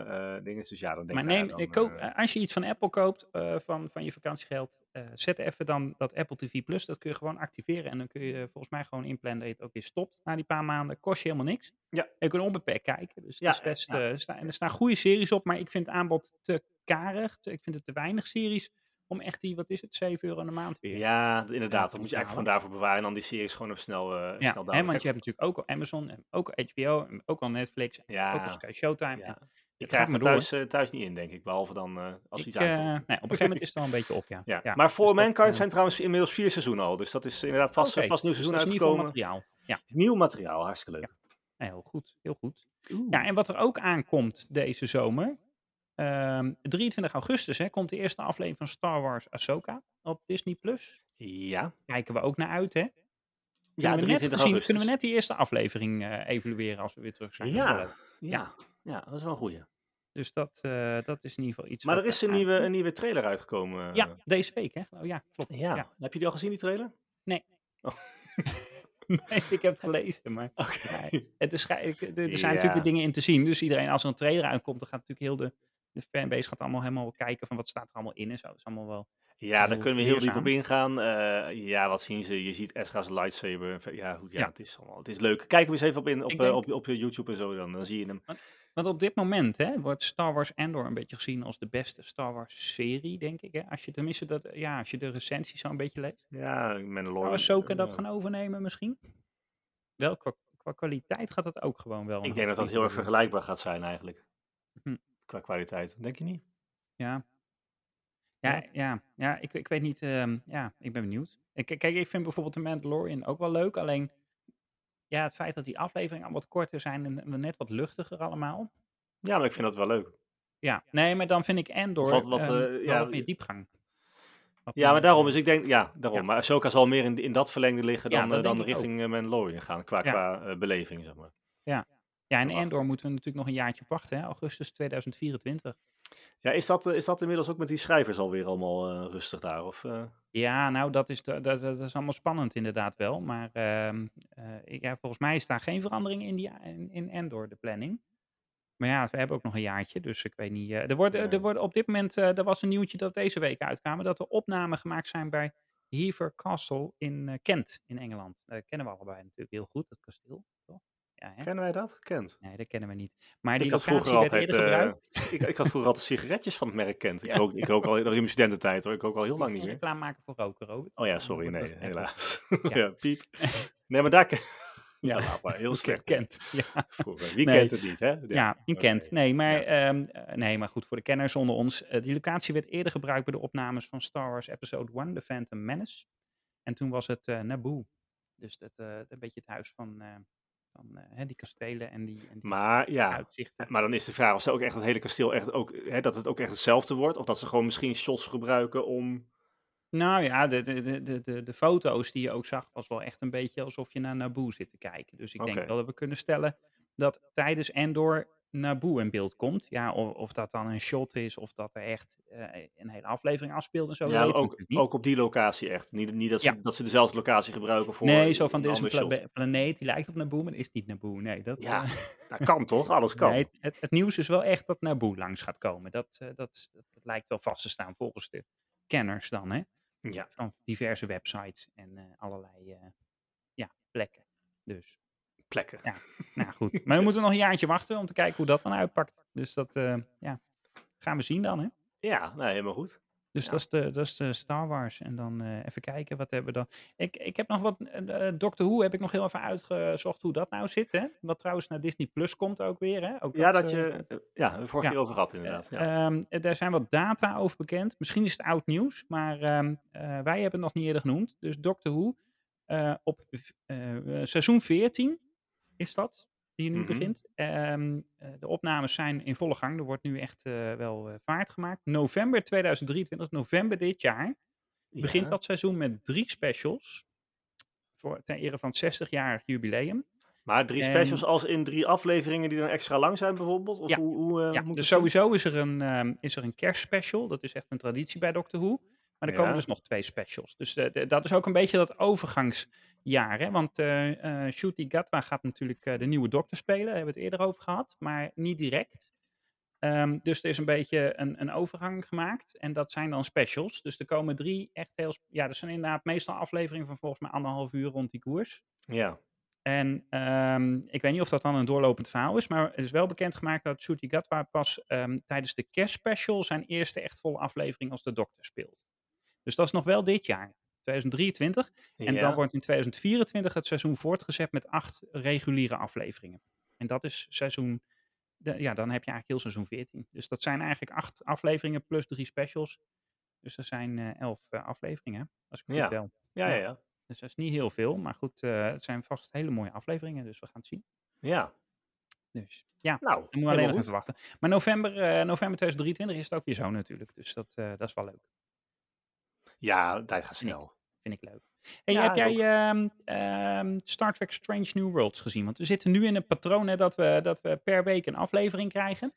Speaker 1: eh, eh, dingen. Dus ja, dan denk
Speaker 2: Maar
Speaker 1: ik, nou ja,
Speaker 2: neem,
Speaker 1: dan,
Speaker 2: eh, koop,
Speaker 1: eh,
Speaker 2: eh, als je iets van Apple koopt, eh, van, van je vakantiegeld, eh, zet even dan dat Apple TV Plus. Dat kun je gewoon activeren. En dan kun je eh, volgens mij gewoon inplannen dat je het ook weer stopt na die paar maanden. Kost je helemaal niks.
Speaker 1: Ja.
Speaker 2: En je kunt onbeperkt kijken. Dus
Speaker 1: Ja,
Speaker 2: dat is best, eh, er staan- en er staan goede series op, maar ik vind het aanbod te karig. Te- ik vind het te weinig series om echt die, wat is het, 7 euro in de maand weer.
Speaker 1: Ja, inderdaad. Dat
Speaker 2: die
Speaker 1: moet je eigenlijk gewoon
Speaker 2: betalen.
Speaker 1: daarvoor bewaren. En dan die series gewoon even snel, eh
Speaker 2: Ja,
Speaker 1: snel
Speaker 2: hè,
Speaker 1: downloaden.
Speaker 2: want je
Speaker 1: Kijk,
Speaker 2: hebt natuurlijk ook al Amazon, en ook al HBO, en ook al Netflix, en ook al
Speaker 1: Ja,
Speaker 2: Sky Showtime.
Speaker 1: ja.
Speaker 2: En
Speaker 1: ik
Speaker 2: gaat
Speaker 1: krijg
Speaker 2: maar
Speaker 1: me
Speaker 2: door,
Speaker 1: thuis, eh, thuis niet in, denk ik. Behalve dan eh, als
Speaker 2: ik,
Speaker 1: iets
Speaker 2: eh,
Speaker 1: aankomt.
Speaker 2: nee, op een gegeven moment is het wel een beetje op, ja.
Speaker 1: Ja.
Speaker 2: ja.
Speaker 1: maar voor
Speaker 2: dus dat,
Speaker 1: Mankind
Speaker 2: eh,
Speaker 1: zijn trouwens inmiddels vier seizoenen al. Dus dat is inderdaad pas,
Speaker 2: Oké,
Speaker 1: pas nieuw
Speaker 2: dus
Speaker 1: seizoen
Speaker 2: dat is in ieder geval
Speaker 1: uitgekomen.
Speaker 2: materiaal. Ja,
Speaker 1: Nieuw materiaal, hartstikke leuk.
Speaker 2: nee, Nou, heel goed, heel goed.
Speaker 1: Oeh.
Speaker 2: Ja, en wat er ook aankomt deze zomer, ehm, 23 augustus hè, komt de eerste aflevering van Star Wars Ahsoka op Disney+. Plus.
Speaker 1: ja.
Speaker 2: Kijken we ook naar uit, hè? Kunnen
Speaker 1: Ja,
Speaker 2: we net
Speaker 1: 23
Speaker 2: gezien-
Speaker 1: augustus.
Speaker 2: Kunnen we net die eerste aflevering eh, evalueren als we weer terug zijn? Dat is wel
Speaker 1: ja,
Speaker 2: leuk.
Speaker 1: ja, ja, dat is wel een goeie.
Speaker 2: Dus dat, eh, dat is in ieder geval iets
Speaker 1: Maar
Speaker 2: wat
Speaker 1: er is een
Speaker 2: aankomt.
Speaker 1: nieuwe, een nieuwe trailer uitgekomen. eh.
Speaker 2: Hm. Ja, deze week, hè? geloof- Ja, klopt.
Speaker 1: ja.
Speaker 2: ja.
Speaker 1: Heb je die al gezien, die trailer?
Speaker 2: Nee, ik heb het gelezen, maar...
Speaker 1: Oké.
Speaker 2: Nee, het is, schij- ik- er er zijn
Speaker 1: Ja.
Speaker 2: natuurlijk weer dingen in te zien. Dus iedereen, als er een trailer uitkomt, dan gaat natuurlijk heel de, de fanbase gaat allemaal helemaal kijken van wat staat er allemaal in en zo. Dat is allemaal wel.
Speaker 1: Ja, daar
Speaker 2: heel
Speaker 1: kunnen we heel diep
Speaker 2: leerzaam.
Speaker 1: op ingaan. Eh, ja, wat zien ze? Je ziet Ezra's lightsaber. Ver- Ja, goed, ja,
Speaker 2: Ja.
Speaker 1: Het, is allemaal, het is leuk. Kijk hem eens even op, in, op,
Speaker 2: Ik
Speaker 1: eh,
Speaker 2: denk-
Speaker 1: op, op je YouTube en zo, dan, dan zie je hem.
Speaker 2: Want op dit moment hè, wordt Star Wars Andor een beetje gezien als de beste Star Wars serie, denk ik. Hè? Als je tenminste dat, ja, als je de recensies zo een beetje leest.
Speaker 1: Ja, Mandalorian.
Speaker 2: Zou Oh, Ahsoka dat
Speaker 1: eh,
Speaker 2: gaan overnemen misschien? Wel, qua, qua kwaliteit gaat dat ook gewoon wel.
Speaker 1: Ik denk dat dat heel erg vergelijkbaar gaat zijn eigenlijk.
Speaker 2: Hm.
Speaker 1: Qua kwaliteit, denk je niet?
Speaker 2: Ja. Ja,
Speaker 1: Ja.
Speaker 2: ja, ja ik, ik weet niet. ehm, ja, ik ben benieuwd. Ik, eh, kijk, ik vind bijvoorbeeld de Mandalorian ook wel leuk. Alleen ja, het feit dat die afleveringen al wat korter zijn en en net wat luchtiger allemaal.
Speaker 1: Ja, maar ik vind dat wel leuk.
Speaker 2: Ja, nee, maar dan vind ik Endor
Speaker 1: Wat-
Speaker 2: wat,
Speaker 1: wat,
Speaker 2: wat,
Speaker 1: eh, ja,
Speaker 2: wat meer diepgang. Wat
Speaker 1: Ja, maar
Speaker 2: meer,
Speaker 1: daarom
Speaker 2: eh,
Speaker 1: is ik denk, ja, daarom.
Speaker 2: Ja.
Speaker 1: Maar Ahsoka zal meer in, in dat verlengde liggen
Speaker 2: Ja,
Speaker 1: dan, eh,
Speaker 2: dat
Speaker 1: dan
Speaker 2: denk ik ook.
Speaker 1: richting eh, Mandalorian gaan. Qua,
Speaker 2: Ja.
Speaker 1: qua eh, beleving, zeg maar.
Speaker 2: Ja, en
Speaker 1: verwacht.
Speaker 2: Endor moeten we natuurlijk nog een jaartje op wachten, hè? augustus 2024.
Speaker 1: Ja, is dat, eh, is dat inmiddels ook met die schrijvers alweer allemaal eh, rustig daar? Of, eh?
Speaker 2: Ja, nou, dat is, de- dat, dat is allemaal spannend inderdaad wel. Maar ehm, eh, ik- ja, volgens mij is daar geen verandering in, die, in, in Endor, de planning. Maar ja, we hebben ook nog een jaartje, dus ik weet niet. eh, er wordt, eh,
Speaker 1: Nee.
Speaker 2: er wordt op dit moment, eh, er was een nieuwtje dat deze week uitkwam, dat er opnamen gemaakt zijn bij Hever Castle in eh, Kent, in Engeland. Dat kennen we allebei natuurlijk heel goed, dat kasteel. Toch? Ja, hè?
Speaker 1: Kennen wij dat? Kent.
Speaker 2: Nee, dat kennen we niet. Maar die
Speaker 1: had vroeger
Speaker 2: locatie werd
Speaker 1: altijd,
Speaker 2: eerder
Speaker 1: eh,
Speaker 2: gebruikt.
Speaker 1: ik, ik had vroeger altijd sigaretjes van het merk Kent. Ik,
Speaker 2: Ja.
Speaker 1: rook, ik rook al, dat was in mijn studententijd hoor. Ik rook al heel
Speaker 2: Je
Speaker 1: lang
Speaker 2: moet
Speaker 1: niet
Speaker 2: geen
Speaker 1: meer.
Speaker 2: reclame maken voor roken, Robert.
Speaker 1: Oh ja,
Speaker 2: Dan
Speaker 1: sorry.
Speaker 2: wordt
Speaker 1: Nee,
Speaker 2: het- het wordt-
Speaker 1: helaas.
Speaker 2: Ja.
Speaker 1: ja, piep. Nee, maar daar... ken- Ja,
Speaker 2: Ja.
Speaker 1: laat maar. Heel slecht.
Speaker 2: Kent, ja.
Speaker 1: Vroeger. Wie
Speaker 2: Nee.
Speaker 1: kent het niet, hè?
Speaker 2: Ja, je
Speaker 1: oké.
Speaker 2: kent. Nee maar,
Speaker 1: Ja.
Speaker 2: ehm, eh, nee, maar goed, voor de kenners onder ons. eh, die locatie werd eerder gebruikt bij de opnames van Star Wars Episode 1, The Phantom Menace. En toen was het eh, Naboo. Dus dat, eh, een beetje het huis van, eh, van eh, hè, die kastelen en die, en die
Speaker 1: Maar ja,
Speaker 2: uitzichten.
Speaker 1: maar dan is de vraag of ze ook echt het hele kasteel echt ook, hè, dat het ook echt hetzelfde wordt, of dat ze gewoon misschien shots gebruiken om.
Speaker 2: Nou ja, de, de, de- de, de, de foto's die je ook zag, was wel echt een beetje alsof je naar Naboo zit te kijken. Dus ik
Speaker 1: Oké.
Speaker 2: denk wel dat we kunnen stellen dat tijdens en door Naboo in beeld komt. Ja, of, of dat dan een shot is, of dat er echt eh, een hele aflevering afspeelt en zo. dat
Speaker 1: Ja,
Speaker 2: weten we
Speaker 1: ook,
Speaker 2: natuurlijk niet.
Speaker 1: ook op die locatie echt. Niet, niet dat, ze,
Speaker 2: Ja.
Speaker 1: dat ze dezelfde locatie gebruiken voor.
Speaker 2: nee, zo van dit is een
Speaker 1: ander shot.
Speaker 2: pla- planeet die lijkt op Naboo, maar is niet Naboo. Nee, dat
Speaker 1: Ja,
Speaker 2: eh,
Speaker 1: Dat Nou, kan toch? Alles kan.
Speaker 2: nee, het- het, het nieuws is wel echt dat Naboo langs gaat komen. Dat, eh, dat, dat, dat lijkt wel vast te staan volgens de kenners dan, hè?
Speaker 1: Ja.
Speaker 2: Van diverse websites en eh, allerlei eh, ja, plekken. Dus,
Speaker 1: Plekken.
Speaker 2: nou goed. Maar we moeten nog een jaartje wachten om te kijken hoe dat dan uitpakt. Dus dat eh, ja, gaan we zien dan, hè?
Speaker 1: Ja, nou helemaal goed.
Speaker 2: Dus
Speaker 1: Ja.
Speaker 2: dat, is de, dat is de Star Wars. En dan eh, even kijken, wat hebben we dan? Ik, ik heb nog wat, eh, eh, Doctor Who heb ik nog heel even uitgezocht hoe dat nou zit. Hè? Wat trouwens naar Disney Plus komt ook weer. Hè? Ook
Speaker 1: Ja, dat
Speaker 2: eh,
Speaker 1: je. eh, Ja, we vorige
Speaker 2: ja.
Speaker 1: keer over had inderdaad. Ja.
Speaker 2: Ehm, eh, daar zijn wat data over bekend. Misschien is het oud nieuws, maar ehm, eh, wij hebben het nog niet eerder genoemd. Dus Doctor Who eh, op v- eh, eh, seizoen 14 is dat, die nu
Speaker 1: Mhm.
Speaker 2: begint. Ehm, eh, de opnames zijn in volle gang. Er wordt nu echt eh, wel eh, vaart gemaakt. November 2023, november dit jaar, begint
Speaker 1: Ja.
Speaker 2: dat seizoen met drie specials. Voor, ten ere van het 60-jarig jubileum.
Speaker 1: Maar drie
Speaker 2: en-
Speaker 1: specials als in drie afleveringen die dan extra lang zijn, bijvoorbeeld? Of
Speaker 2: Ja.
Speaker 1: hoe, hoe eh,
Speaker 2: ja,
Speaker 1: moet
Speaker 2: dus
Speaker 1: het zien?
Speaker 2: sowieso is er, een, ehm, is er een kerstspecial. Dat is echt een traditie bij Doctor Who. Maar er komen
Speaker 1: Ja.
Speaker 2: dus nog twee specials. Dus eh, de- dat is ook een beetje dat overgangsjaar. Hè? Want eh eh Shuti Gatwa gaat natuurlijk eh, de nieuwe dokter spelen. Daar hebben we het eerder over gehad. Maar niet direct. Ehm, dus er is een beetje een, een overgang gemaakt. En dat zijn dan specials. Dus er komen drie echt heel... sp- Ja, dat zijn inderdaad meestal afleveringen van volgens mij anderhalf uur rond die koers.
Speaker 1: Ja.
Speaker 2: En ehm, ik weet niet of dat dan een doorlopend verhaal is, maar het is wel bekendgemaakt dat Shuti Gatwa pas ehm, tijdens de kerstspecial zijn eerste echt volle aflevering als de dokter speelt. Dus dat is nog wel dit jaar, 2023. En
Speaker 1: ja.
Speaker 2: dan wordt in 2024 het seizoen voortgezet met acht reguliere afleveringen. En dat is seizoen, de- ja, dan heb je eigenlijk heel seizoen 14. Dus dat zijn eigenlijk acht afleveringen plus drie specials. Dus dat zijn eh, elf eh, afleveringen, als ik het
Speaker 1: Ja.
Speaker 2: goed tel.
Speaker 1: ja, ja,
Speaker 2: ja.
Speaker 1: ja.
Speaker 2: Dus dat is niet heel veel, maar goed, eh, het zijn vast hele mooie afleveringen, dus we gaan het zien.
Speaker 1: Ja.
Speaker 2: Dus ja,
Speaker 1: Nou,
Speaker 2: dan moeten we alleen nog
Speaker 1: helemaal
Speaker 2: even wachten. Maar november, eh, november 2023 is het ook weer zo natuurlijk, dus dat, eh, dat is wel leuk.
Speaker 1: goed. Ja, de tijd gaat snel.
Speaker 2: Vind ik leuk. Hey,
Speaker 1: Ja,
Speaker 2: heb
Speaker 1: ik
Speaker 2: jij ehm, ehm, Star Trek Strange New Worlds gezien? Want we zitten nu in een patroon hè, dat, we, dat we per week een aflevering krijgen.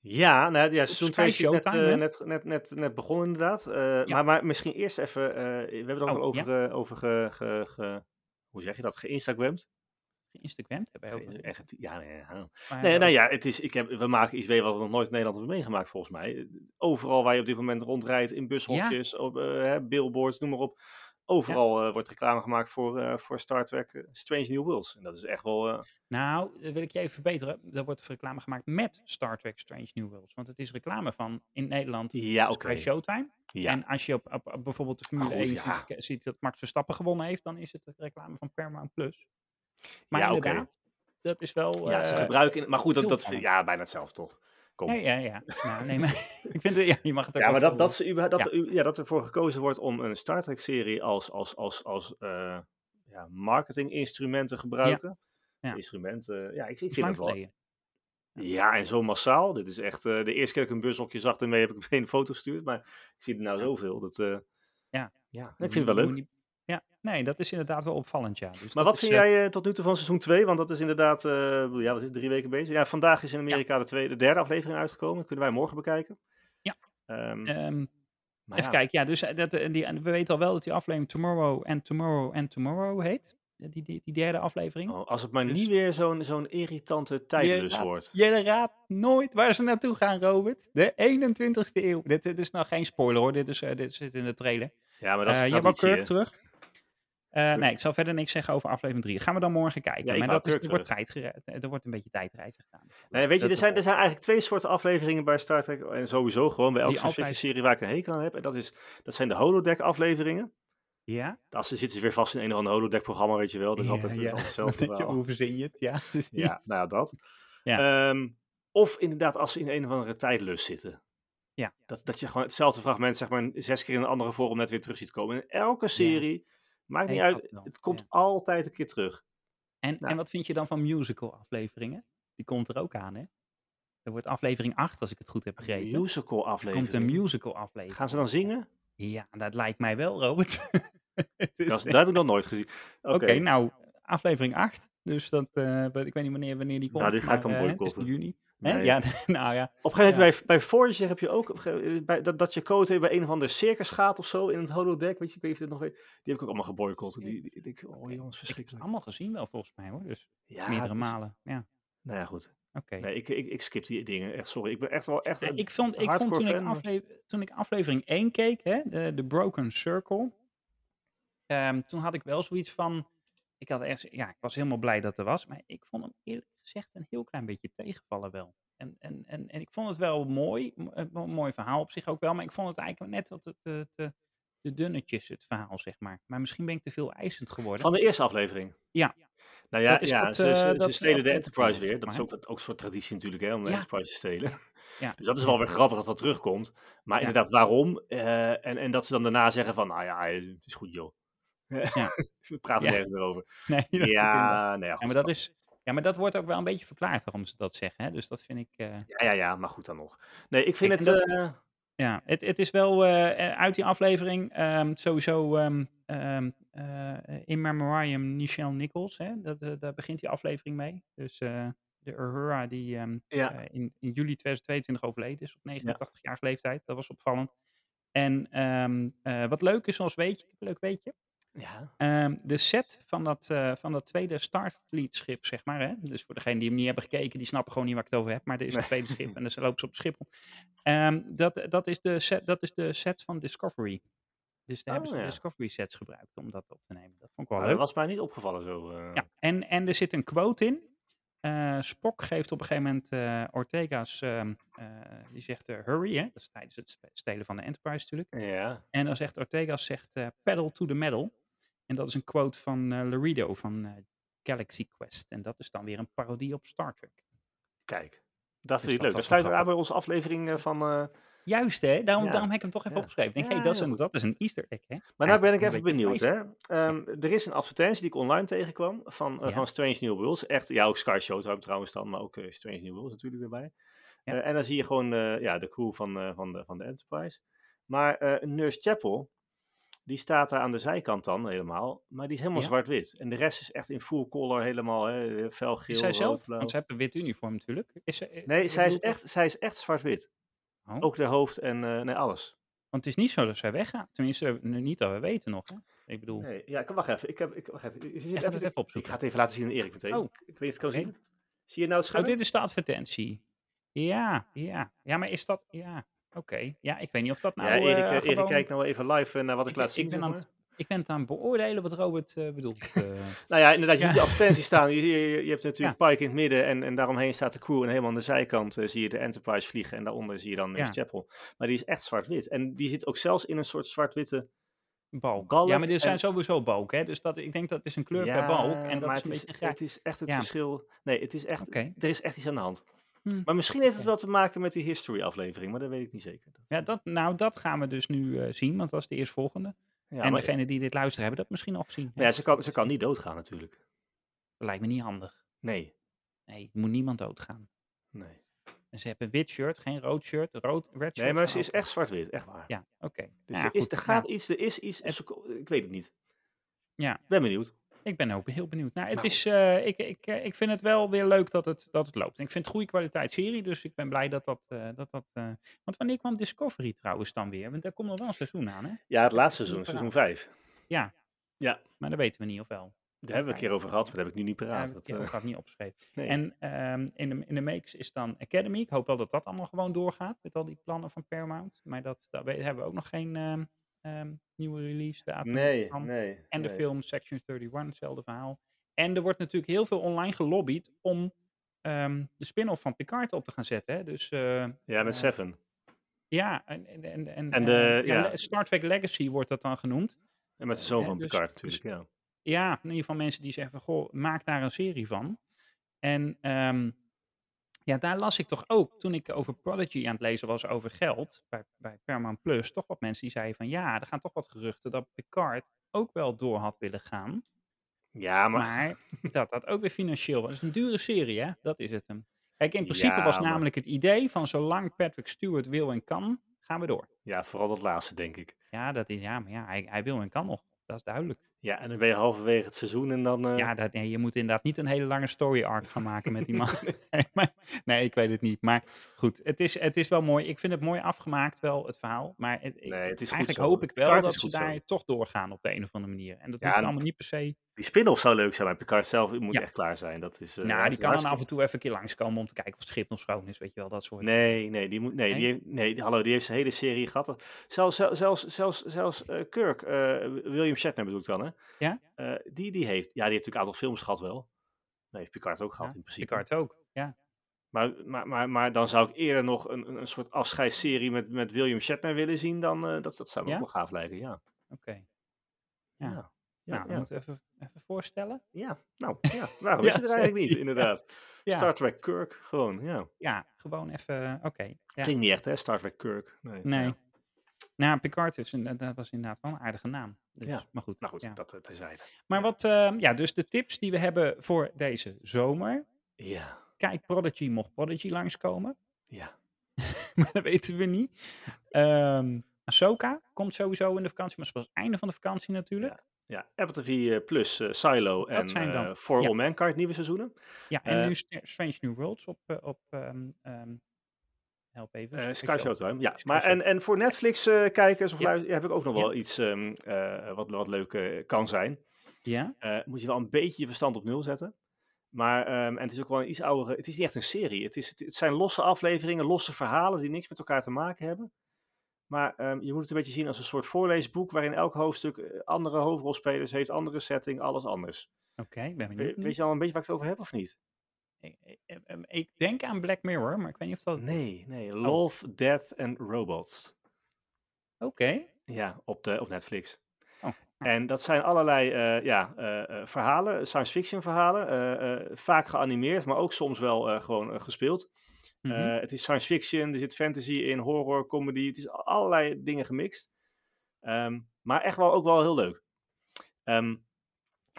Speaker 1: Ja, nou, ja seizoen
Speaker 2: Sky
Speaker 1: 2 is net,
Speaker 2: Showtime,
Speaker 1: eh,
Speaker 2: hè?
Speaker 1: net, net, net, net begonnen inderdaad. Eh,
Speaker 2: Ja.
Speaker 1: maar, maar misschien eerst even, eh, we hebben het ook
Speaker 2: Oh,
Speaker 1: al over, eh, over ge, ge, ge- hoe zeg je dat, geïnstagramd.
Speaker 2: Geïnstagramd hebben we ook.
Speaker 1: Echt, ja, nee, ja.
Speaker 2: Maar
Speaker 1: Nee,
Speaker 2: we-
Speaker 1: nou ja, het is, ik heb, we maken iets weer wat we nog nooit in Nederland hebben meegemaakt volgens mij. Overal waar je op dit moment rondrijdt, in bushokjes, op eh, hè, billboards, noem maar op. Overal eh, wordt reclame gemaakt voor, eh, voor Star Trek eh, Strange New Worlds. En dat is echt wel... eh,
Speaker 2: Nou, eh, wil ik je even verbeteren. Er wordt reclame gemaakt met Star Trek Strange New Worlds. Want het is reclame van in Nederland
Speaker 1: ja, oké.
Speaker 2: Sky Showtime.
Speaker 1: Ja.
Speaker 2: En als je op, op, op bijvoorbeeld de Formule
Speaker 1: goed,
Speaker 2: 1
Speaker 1: ja.
Speaker 2: ziet, eh, ziet dat Max Verstappen gewonnen heeft, dan is het de reclame van Paramount Plus. Maar
Speaker 1: Ja, oké.
Speaker 2: inderdaad, dat is wel...
Speaker 1: Ja, ze
Speaker 2: eh,
Speaker 1: gebruiken. Maar goed, dat,
Speaker 2: veel
Speaker 1: dat,
Speaker 2: van hem.
Speaker 1: ja, bijna hetzelfde toch? Kom.
Speaker 2: Ja, ja, ja. Nou, nee, maar ik vind het... Ja, je mag het ook
Speaker 1: Ja,
Speaker 2: wel
Speaker 1: maar
Speaker 2: zo
Speaker 1: dat, dat,
Speaker 2: doen.
Speaker 1: ze, überhaupt- dat,
Speaker 2: Ja.
Speaker 1: u- ja, dat ervoor gekozen wordt om een Star Trek-serie als, als, als, als eh, ja, marketinginstrument te gebruiken.
Speaker 2: Ja.
Speaker 1: Instrumenten, ja, ik, ik vind
Speaker 2: Lang
Speaker 1: dat wel.
Speaker 2: geleden.
Speaker 1: Ja, en zo massaal. Dit is echt, eh, de eerste keer dat ik een bushokje zag, daarmee heb ik meteen een foto gestuurd. Maar ik zie er nou
Speaker 2: Ja.
Speaker 1: zoveel. Dat, eh,
Speaker 2: Ja.
Speaker 1: ja, ik vind het wel
Speaker 2: Moet
Speaker 1: leuk.
Speaker 2: niet- Ja, nee, dat is inderdaad wel opvallend, ja. Dus
Speaker 1: Maar
Speaker 2: dat
Speaker 1: wat
Speaker 2: is,
Speaker 1: vind
Speaker 2: eh,
Speaker 1: jij eh, tot nu toe van seizoen 2? Want dat is inderdaad, eh, ja, wat is het, drie weken bezig? Ja, vandaag is in Amerika de, tweede, de derde aflevering uitgekomen. Dat kunnen wij morgen bekijken.
Speaker 2: Ja.
Speaker 1: Ehm,
Speaker 2: ehm,
Speaker 1: maar
Speaker 2: Even
Speaker 1: ja.
Speaker 2: kijken, ja, dus eh, dat, eh, die, en we weten al wel dat die aflevering Tomorrow and Tomorrow and Tomorrow heet. Die, die, die derde aflevering.
Speaker 1: Oh, als het maar
Speaker 2: Dus-
Speaker 1: niet weer zo'n zo'n irritante tijdlus
Speaker 2: laat-
Speaker 1: wordt.
Speaker 2: Je raadt nooit waar ze naartoe gaan, Robert. De 21ste eeuw. Dit, dit is nou geen spoiler hoor, dit, is, eh, dit zit in de trailer.
Speaker 1: Ja, maar dat is
Speaker 2: Eh
Speaker 1: een
Speaker 2: je hebt al
Speaker 1: traditie.
Speaker 2: Kirk
Speaker 1: hè.
Speaker 2: terug. Eh, nee, ik zal verder niks zeggen over aflevering 3. Gaan we dan morgen kijken.
Speaker 1: Ja, ik
Speaker 2: maar
Speaker 1: wou
Speaker 2: dat is,
Speaker 1: Kirk
Speaker 2: er, wordt tijdgere- er wordt een beetje tijdreizen gedaan.
Speaker 1: Nee, weet je,
Speaker 2: Dat
Speaker 1: er zijn, er
Speaker 2: wordt-
Speaker 1: zijn eigenlijk twee soorten afleveringen bij Star Trek. En sowieso gewoon bij elke
Speaker 2: Die
Speaker 1: science fiction
Speaker 2: altijd-
Speaker 1: serie waar ik een hekel aan heb. En dat, is, dat zijn de holodeck afleveringen.
Speaker 2: Ja?
Speaker 1: Als ze zitten ze weer vast in een of ander holodeck programma, weet je wel. Dat is
Speaker 2: Ja,
Speaker 1: altijd, dat is
Speaker 2: ja.
Speaker 1: altijd
Speaker 2: Dan
Speaker 1: hetzelfde
Speaker 2: denk je,
Speaker 1: verhaal.
Speaker 2: hoe verzin je het? Ja, precies.
Speaker 1: Ja, nou ja, dat. Ehm, of inderdaad als ze in een of andere tijdlus zitten.
Speaker 2: Ja.
Speaker 1: Dat, dat je gewoon hetzelfde fragment zeg maar zes keer in een andere vorm net weer terug ziet komen. In elke serie, maakt niet
Speaker 2: Heet
Speaker 1: uit,
Speaker 2: dat wel,
Speaker 1: het komt
Speaker 2: oh, ja.
Speaker 1: altijd een keer terug.
Speaker 2: En,
Speaker 1: Nou.
Speaker 2: en wat vind je dan van musical afleveringen? Die komt er ook aan, hè? Er wordt aflevering 8, als ik het goed heb begrepen.
Speaker 1: musical
Speaker 2: Er komt een
Speaker 1: aflevering.
Speaker 2: musical aflevering.
Speaker 1: Gaan ze dan zingen?
Speaker 2: Ja, dat lijkt mij wel, Robert. Het is
Speaker 1: Dat, is-
Speaker 2: echt-
Speaker 1: dat heb ik nog nooit gezien. Oké,
Speaker 2: Oké, nou, aflevering 8. Dus dat, eh, weet- ik weet niet wanneer, wanneer die komt.
Speaker 1: Nou, dit ga ik dan
Speaker 2: maar, eh, het is
Speaker 1: boycotten.
Speaker 2: in juni. Hè?
Speaker 1: nee.
Speaker 2: Ja, nou ja.
Speaker 1: Op een gegeven moment bij, bij Voyager heb je ook op een gegeven moment, eh, bij, dat, dat je code bij een of ander circus gaat of zo in het holodeck. Weet je, ik weet niet of je dit nog weet. Die heb ik ook allemaal geboycott. Die, die, die- ik- oh
Speaker 2: Oké.
Speaker 1: jongens, verschrikkelijk.
Speaker 2: Allemaal gezien wel, volgens mij, hoor. Dus
Speaker 1: Ja,
Speaker 2: meerdere
Speaker 1: dat is-
Speaker 2: malen. Ja,
Speaker 1: Nou ja, goed.
Speaker 2: oké.
Speaker 1: Nee, ik, ik, ik skip die dingen. Echt, sorry. Ik ben echt wel echt
Speaker 2: Ja,
Speaker 1: een-
Speaker 2: ik vond, ik vond
Speaker 1: hardcore
Speaker 2: toen, ik
Speaker 1: fan, maar-
Speaker 2: afle- toen ik aflevering 1 keek, hè, de, de Broken Circle, ehm, toen had ik wel zoiets van, ik, had echt, ja, ik was helemaal blij dat er was, maar ik vond hem eerlijk gezegd een heel klein beetje tegenvallen wel. En, en, en, en ik vond het wel mooi, m- eh, wel een mooi verhaal op zich ook wel, maar ik vond het eigenlijk net wat het, eh, te, te dunnetjes, het verhaal, zeg maar. Maar misschien ben ik te veel eisend geworden.
Speaker 1: Van de eerste aflevering?
Speaker 2: Ja.
Speaker 1: Nou ja,
Speaker 2: Dat is
Speaker 1: ja
Speaker 2: wat,
Speaker 1: ze, ze-
Speaker 2: eh,
Speaker 1: ze
Speaker 2: dat,
Speaker 1: stelen
Speaker 2: eh,
Speaker 1: de
Speaker 2: opgevallen
Speaker 1: Enterprise
Speaker 2: is, zeg
Speaker 1: weer. Dat is
Speaker 2: maar.
Speaker 1: ook, ook een soort traditie natuurlijk, hè, om de
Speaker 2: Ja.
Speaker 1: Enterprise te stelen.
Speaker 2: Ja.
Speaker 1: Dus dat is wel weer grappig dat dat terugkomt. Maar
Speaker 2: Ja.
Speaker 1: inderdaad, waarom? Eh, en, en dat ze dan daarna zeggen van, nou ja, eh, het is goed joh.
Speaker 2: Ja.
Speaker 1: We praten
Speaker 2: Ja.
Speaker 1: er nergens meer over.
Speaker 2: Nee, dat is inderdaad-
Speaker 1: Ja, nee, ja,
Speaker 2: ja,
Speaker 1: goed,
Speaker 2: maar dat is, ja, maar dat wordt ook wel een beetje verklaard waarom ze dat zeggen. Hè? Dus dat vind ik... eh,
Speaker 1: ja, ja, ja, maar goed dan nog. Nee, ik vind
Speaker 2: Kijk,
Speaker 1: het...
Speaker 2: en dat-
Speaker 1: eh,
Speaker 2: Ja, het, het is wel eh, eh, uit die aflevering ehm, sowieso ehm, ehm, eh, in memoriam Michelle Nichols. Hè? Dat, eh, daar begint die aflevering mee. Dus eh, de Uhura die ehm,
Speaker 1: ja,
Speaker 2: eh, in, in juli 2022 overleden is op 89-jarige leeftijd. Dat was opvallend. En ehm, eh, wat leuk is, als weet je, leuk weet je,
Speaker 1: ja.
Speaker 2: Ehm, de set van dat, eh, van dat tweede Starfleet-schip, zeg maar. Hè? Dus voor degenen die hem niet hebben gekeken, die snappen gewoon niet waar ik het over heb. Maar er is een
Speaker 1: Nee.
Speaker 2: tweede schip en dan lopen ze op het schip. op. Ehm, dat, dat, is de set, dat is de set van Discovery. Dus daar hebben
Speaker 1: Oh,
Speaker 2: ze
Speaker 1: ja.
Speaker 2: Discovery-sets gebruikt om dat op te nemen. Dat vond ik wel
Speaker 1: Nou,
Speaker 2: leuk.
Speaker 1: dat was mij niet opgevallen zo. eh.
Speaker 2: Ja, en, en er zit een quote in. Eh Spock geeft op een gegeven moment eh, Ortega's, ehm, eh, die zegt eh, hurry, hè? dat is tijdens het spe- stelen van de Enterprise natuurlijk.
Speaker 1: ja.
Speaker 2: En dan zegt Ortega, zegt eh pedal to the metal. En dat is een quote van eh Laredo van eh, Galaxy Quest. En dat is dan weer een parodie op Star Trek.
Speaker 1: Kijk, dat
Speaker 2: Dus
Speaker 1: vind ik leuk.
Speaker 2: dat was
Speaker 1: Dat sluit
Speaker 2: wel
Speaker 1: aan bij onze aflefering eh, van... eh,
Speaker 2: Juist hè, daarom,
Speaker 1: Ja,
Speaker 2: daarom heb ik hem toch even
Speaker 1: ja.
Speaker 2: opgeschreven. Ik Denk,
Speaker 1: Ja,
Speaker 2: hey, dat, is
Speaker 1: heel
Speaker 2: een,
Speaker 1: goed.
Speaker 2: dat is een easter egg hè.
Speaker 1: Maar nou ben ik
Speaker 2: Eigenlijk
Speaker 1: even
Speaker 2: een
Speaker 1: benieuwd,
Speaker 2: beetje
Speaker 1: hè. Ehm, er is een advertentie die ik online tegenkwam van, eh,
Speaker 2: Ja.
Speaker 1: van Strange New Worlds. Echt, ja, ook Sky Showtime trouwens dan, maar ook eh, Strange New Worlds natuurlijk erbij.
Speaker 2: Ja.
Speaker 1: Eh, en dan zie je gewoon eh, ja, de crew van, eh, van, de, van de Enterprise. Maar eh, Nurse Chapel, die staat daar aan de zijkant dan helemaal, maar die is helemaal
Speaker 2: Ja.
Speaker 1: zwart-wit. En de rest is echt in full color helemaal, hè, felgeel,
Speaker 2: Is zij zelf?
Speaker 1: rood, blauw.
Speaker 2: Want ze hebben een wit uniform natuurlijk. Is zij, eh,
Speaker 1: Nee,
Speaker 2: ik
Speaker 1: zij is,
Speaker 2: bedoel,
Speaker 1: echt, zij is echt zwart-wit.
Speaker 2: Oh.
Speaker 1: Ook de hoofd en eh, nee, alles.
Speaker 2: Want het is niet zo dat zij weggaat. Tenminste, nu niet dat we weten nog. Hè? Ik bedoel,
Speaker 1: Nee, ja, ik, wacht even. Ik heb, ik, wacht even. Ik- ik- ik-
Speaker 2: gaat
Speaker 1: ik- ik-
Speaker 2: het even
Speaker 1: Ik
Speaker 2: opzoeken.
Speaker 1: ga het even laten zien aan Erik meteen.
Speaker 2: Oh,
Speaker 1: ik weet niet of je het kan
Speaker 2: oké.
Speaker 1: zien. Zie je nou het
Speaker 2: Oh,
Speaker 1: scherm?
Speaker 2: dit is de advertentie. Ja, ja. Ja, maar is dat... Ja, oké. Ja, ik weet niet of dat nou...
Speaker 1: ja, Erik,
Speaker 2: eh,
Speaker 1: eh, Erik
Speaker 2: gewoon-
Speaker 1: kijkt nou even live eh, naar wat ik,
Speaker 2: Ik-
Speaker 1: laat
Speaker 2: ik
Speaker 1: zien.
Speaker 2: ben
Speaker 1: zeg
Speaker 2: aan
Speaker 1: maar.
Speaker 2: het- Ik ben het aan het beoordelen wat Robert eh, bedoelt. eh.
Speaker 1: Nou ja, inderdaad, je
Speaker 2: Ja.
Speaker 1: ziet de advertentie staan. Je, je, je hebt natuurlijk Pike in het midden en, en daaromheen staat de crew. En helemaal aan de zijkant eh, zie je de Enterprise vliegen. En daaronder zie je dan Miss
Speaker 2: Ja.
Speaker 1: Chapel. Maar die is echt zwart-wit. En die zit ook zelfs in een soort zwart-witte...
Speaker 2: balk.
Speaker 1: Balk
Speaker 2: ja, maar er zijn
Speaker 1: en-
Speaker 2: sowieso balk, hè? Dus dat, ik denk dat is een kleur per balk. En dat
Speaker 1: maar
Speaker 2: is
Speaker 1: het,
Speaker 2: een beetje
Speaker 1: is,
Speaker 2: graag.
Speaker 1: het is echt het
Speaker 2: Ja.
Speaker 1: verschil. Nee, het is echt,
Speaker 2: Oké.
Speaker 1: er is echt iets aan de hand.
Speaker 2: Hm.
Speaker 1: Maar misschien heeft het
Speaker 2: Oké.
Speaker 1: wel te maken met die history aflevering. Maar dat weet ik niet zeker. Dat-
Speaker 2: Ja, dat, nou, dat gaan we dus nu eh, zien, want dat is de eerstvolgende.
Speaker 1: ja,
Speaker 2: en
Speaker 1: maar-
Speaker 2: degene die dit luisteren hebben dat misschien al gezien. hè.
Speaker 1: Maar ja, ze kan, ze kan niet doodgaan natuurlijk.
Speaker 2: Dat lijkt me niet handig.
Speaker 1: Nee,
Speaker 2: Nee, er moet niemand doodgaan.
Speaker 1: nee.
Speaker 2: En ze hebben een wit shirt, geen rood shirt, rood, red shirt.
Speaker 1: Nee, maar
Speaker 2: kan
Speaker 1: ze is
Speaker 2: ook.
Speaker 1: echt zwart-wit, echt waar.
Speaker 2: Ja, oké.
Speaker 1: Dus
Speaker 2: Nou ja,
Speaker 1: er, is,
Speaker 2: goed,
Speaker 1: er
Speaker 2: nou,
Speaker 1: gaat iets, er is iets,
Speaker 2: Het-
Speaker 1: ze ko- ik weet het niet.
Speaker 2: Ja.
Speaker 1: Ben benieuwd.
Speaker 2: Ik ben ook heel benieuwd. Nou, het
Speaker 1: Nou.
Speaker 2: is, eh, ik, ik, eh, ik vind het wel weer leuk dat het, dat het loopt. En ik vind het goede kwaliteit serie, dus ik ben blij dat dat... eh, dat, dat eh, Want wanneer kwam Discovery trouwens dan weer? Want daar komt nog wel een seizoen aan, hè?
Speaker 1: Ja, het laatste
Speaker 2: seizoen,
Speaker 1: seizoen,
Speaker 2: seizoen
Speaker 1: seizoen 5.
Speaker 2: Maar dat weten we niet of wel.
Speaker 1: Daar hebben we een keer over gehad, maar dat heb ik nu niet
Speaker 2: Ja,
Speaker 1: paraat.
Speaker 2: dat
Speaker 1: Dat,
Speaker 2: ja,
Speaker 1: eh,
Speaker 2: dat gaat niet opgeschreven.
Speaker 1: nee.
Speaker 2: En ehm, in, de, in de makes is dan Academy. Ik hoop wel dat dat allemaal gewoon doorgaat met al die plannen van Paramount. Maar dat, daar we- hebben we ook nog geen ehm, ehm, nieuwe release datum.
Speaker 1: nee,
Speaker 2: van.
Speaker 1: nee.
Speaker 2: En de
Speaker 1: nee.
Speaker 2: film Section 31, hetzelfde verhaal. En er wordt natuurlijk heel veel online gelobbyd om ehm, de spin-off van Picard op te gaan zetten. Hè? Dus eh,
Speaker 1: Ja, met
Speaker 2: eh,
Speaker 1: Seven.
Speaker 2: ja, en, en, en, en,
Speaker 1: En
Speaker 2: eh,
Speaker 1: de-
Speaker 2: ja,
Speaker 1: ja.
Speaker 2: Le- Star Trek Legacy wordt dat dan genoemd.
Speaker 1: En met de zoon
Speaker 2: eh,
Speaker 1: van
Speaker 2: dus-
Speaker 1: Picard
Speaker 2: dus-
Speaker 1: natuurlijk, ja.
Speaker 2: Ja, in ieder geval mensen die zeggen van, goh, maak daar een serie van. En ehm, ja, daar las ik toch ook, toen ik over Prodigy aan het lezen was over geld, bij, bij Paramount Plus, toch wat mensen die zeiden van, ja, er gaan toch wat geruchten dat Picard ook wel door had willen gaan.
Speaker 1: Ja, maar...
Speaker 2: Maar dat dat ook weer financieel was. Het is een dure serie, hè? Dat is het hem. Kijk, in principe
Speaker 1: Ja,
Speaker 2: was
Speaker 1: maar-
Speaker 2: namelijk het idee van zolang Patrick Stewart wil en kan, gaan we door.
Speaker 1: Ja, vooral dat laatste, denk ik.
Speaker 2: Ja, dat is, ja maar ja, hij, hij wil en kan nog. Dat is duidelijk.
Speaker 1: Ja, en dan ben je halverwege het seizoen en dan... eh,
Speaker 2: Ja, dat, nee, je moet inderdaad niet een hele lange story arc gaan maken met die man. Nee, maar, nee, ik weet het niet. Maar goed, het is, het is wel mooi. Ik vind het mooi afgemaakt, wel het verhaal. Maar het, ik-
Speaker 1: Nee, het is goed
Speaker 2: eigenlijk
Speaker 1: zo.
Speaker 2: hoop ik wel
Speaker 1: Picard
Speaker 2: dat
Speaker 1: is
Speaker 2: ze
Speaker 1: goed zo.
Speaker 2: daar toch doorgaan op de een of andere manier. En dat
Speaker 1: Ja,
Speaker 2: hoeft
Speaker 1: en-
Speaker 2: allemaal niet per se.
Speaker 1: Die spin-off zou leuk zijn, maar Picard zelf moet
Speaker 2: Ja.
Speaker 1: echt klaar zijn. Dat is, eh, ja,
Speaker 2: nou,
Speaker 1: het is
Speaker 2: die kan dan
Speaker 1: hartstikke-
Speaker 2: af en toe even een keer langskomen om te kijken of het schip nog schoon is. Weet je wel, dat soort
Speaker 1: Nee, nee, die moet, nee,
Speaker 2: Nee?
Speaker 1: Die heeft, nee, die- hallo, die heeft zijn hele serie gehad. Zelfs, zel- zelfs, zelfs, zelfs eh, Kirk, eh, William Shatner bedoel ik dan, hè?
Speaker 2: Ja?
Speaker 1: Eh, die, die heeft, ja, die heeft natuurlijk een aantal films gehad wel. Nee, heeft Picard ook gehad
Speaker 2: Ja,
Speaker 1: in principe.
Speaker 2: Picard ook. Ja,
Speaker 1: Maar, maar, maar, maar dan zou ik eerder nog een, een- een soort afscheidsserie met, met William Shatner willen zien. Dan, eh, dat, dat zou me
Speaker 2: Ja?
Speaker 1: ook wel gaaf lijken, ja.
Speaker 2: Oké. Ja.
Speaker 1: ja. Ja,
Speaker 2: Nou, we
Speaker 1: ja.
Speaker 2: moeten even, even voorstellen.
Speaker 1: Ja, nou, ja. waarom is
Speaker 2: Ja,
Speaker 1: het er eigenlijk niet,
Speaker 2: ja.
Speaker 1: inderdaad.
Speaker 2: Ja.
Speaker 1: Star Trek Kirk, gewoon, ja.
Speaker 2: Ja, gewoon even. eh, Oké. Ja.
Speaker 1: Klinkt niet echt, hè, Star Trek Kirk. Nee.
Speaker 2: Nee.
Speaker 1: ja.
Speaker 2: Nou, Picard is, een- dat was inderdaad wel een aardige naam. Dus,
Speaker 1: Ja.
Speaker 2: Maar goed.
Speaker 1: Nou goed,
Speaker 2: ja.
Speaker 1: dat eh, terzijde.
Speaker 2: Maar wat, eh, ja, dus de tips die we hebben voor deze zomer.
Speaker 1: Ja,
Speaker 2: Kijk, Prodigy mocht Prodigy langskomen.
Speaker 1: ja.
Speaker 2: maar dat weten we niet. Ehm Ahsoka komt sowieso in de vakantie, maar het was het einde van de vakantie natuurlijk.
Speaker 1: Ja, Apple TV eh, Plus, eh, Silo en
Speaker 2: zijn dan-
Speaker 1: eh, For
Speaker 2: ja.
Speaker 1: All Mankind, nieuwe seizoenen.
Speaker 2: Ja, en
Speaker 1: Eh,
Speaker 2: nu Sta- Strange New Worlds op, eh, op ehm, ehm, help even.
Speaker 1: Eh,
Speaker 2: Sky
Speaker 1: Sky
Speaker 2: Show.
Speaker 1: Showtime, ja.
Speaker 2: Sky
Speaker 1: Maar en, en voor Netflix-kijkers of
Speaker 2: Ja.
Speaker 1: luister- heb ik ook nog
Speaker 2: Ja.
Speaker 1: wel iets ehm, eh, wat, wat leuk eh, kan zijn.
Speaker 2: Ja,
Speaker 1: Eh, moet je wel een beetje je verstand op nul zetten. Maar ehm, en het is ook wel een iets oudere. Het is niet echt een serie. Het, is, het, het zijn losse afleveringen, losse verhalen die niks met elkaar te maken hebben. Maar ehm, je moet het een beetje zien als een soort voorleesboek waarin elk hoofdstuk eh, andere hoofdrolspelers heeft, andere setting, alles anders.
Speaker 2: oké, ik ben
Speaker 1: We-
Speaker 2: benieuwd. nu. E,
Speaker 1: weet je al een beetje waar ik het over heb of niet?
Speaker 2: Ik, ik- ik- ik denk aan Black Mirror, maar ik weet niet of dat...
Speaker 1: Nee, nee. Love, Death and Robots.
Speaker 2: Oké,
Speaker 1: Eh, Ja, op, de, op Netflix.
Speaker 2: Oh.
Speaker 1: En dat zijn allerlei eh, ja, eh, eh, verhalen, science fiction verhalen, eh, eh, vaak geanimeerd, maar ook soms wel eh, gewoon eh, gespeeld.
Speaker 2: mhm,
Speaker 1: Eh, het is science fiction, er zit fantasy in, horror, comedy. Het is allerlei dingen gemixt. Ehm, maar echt wel ook wel heel leuk. Ehm,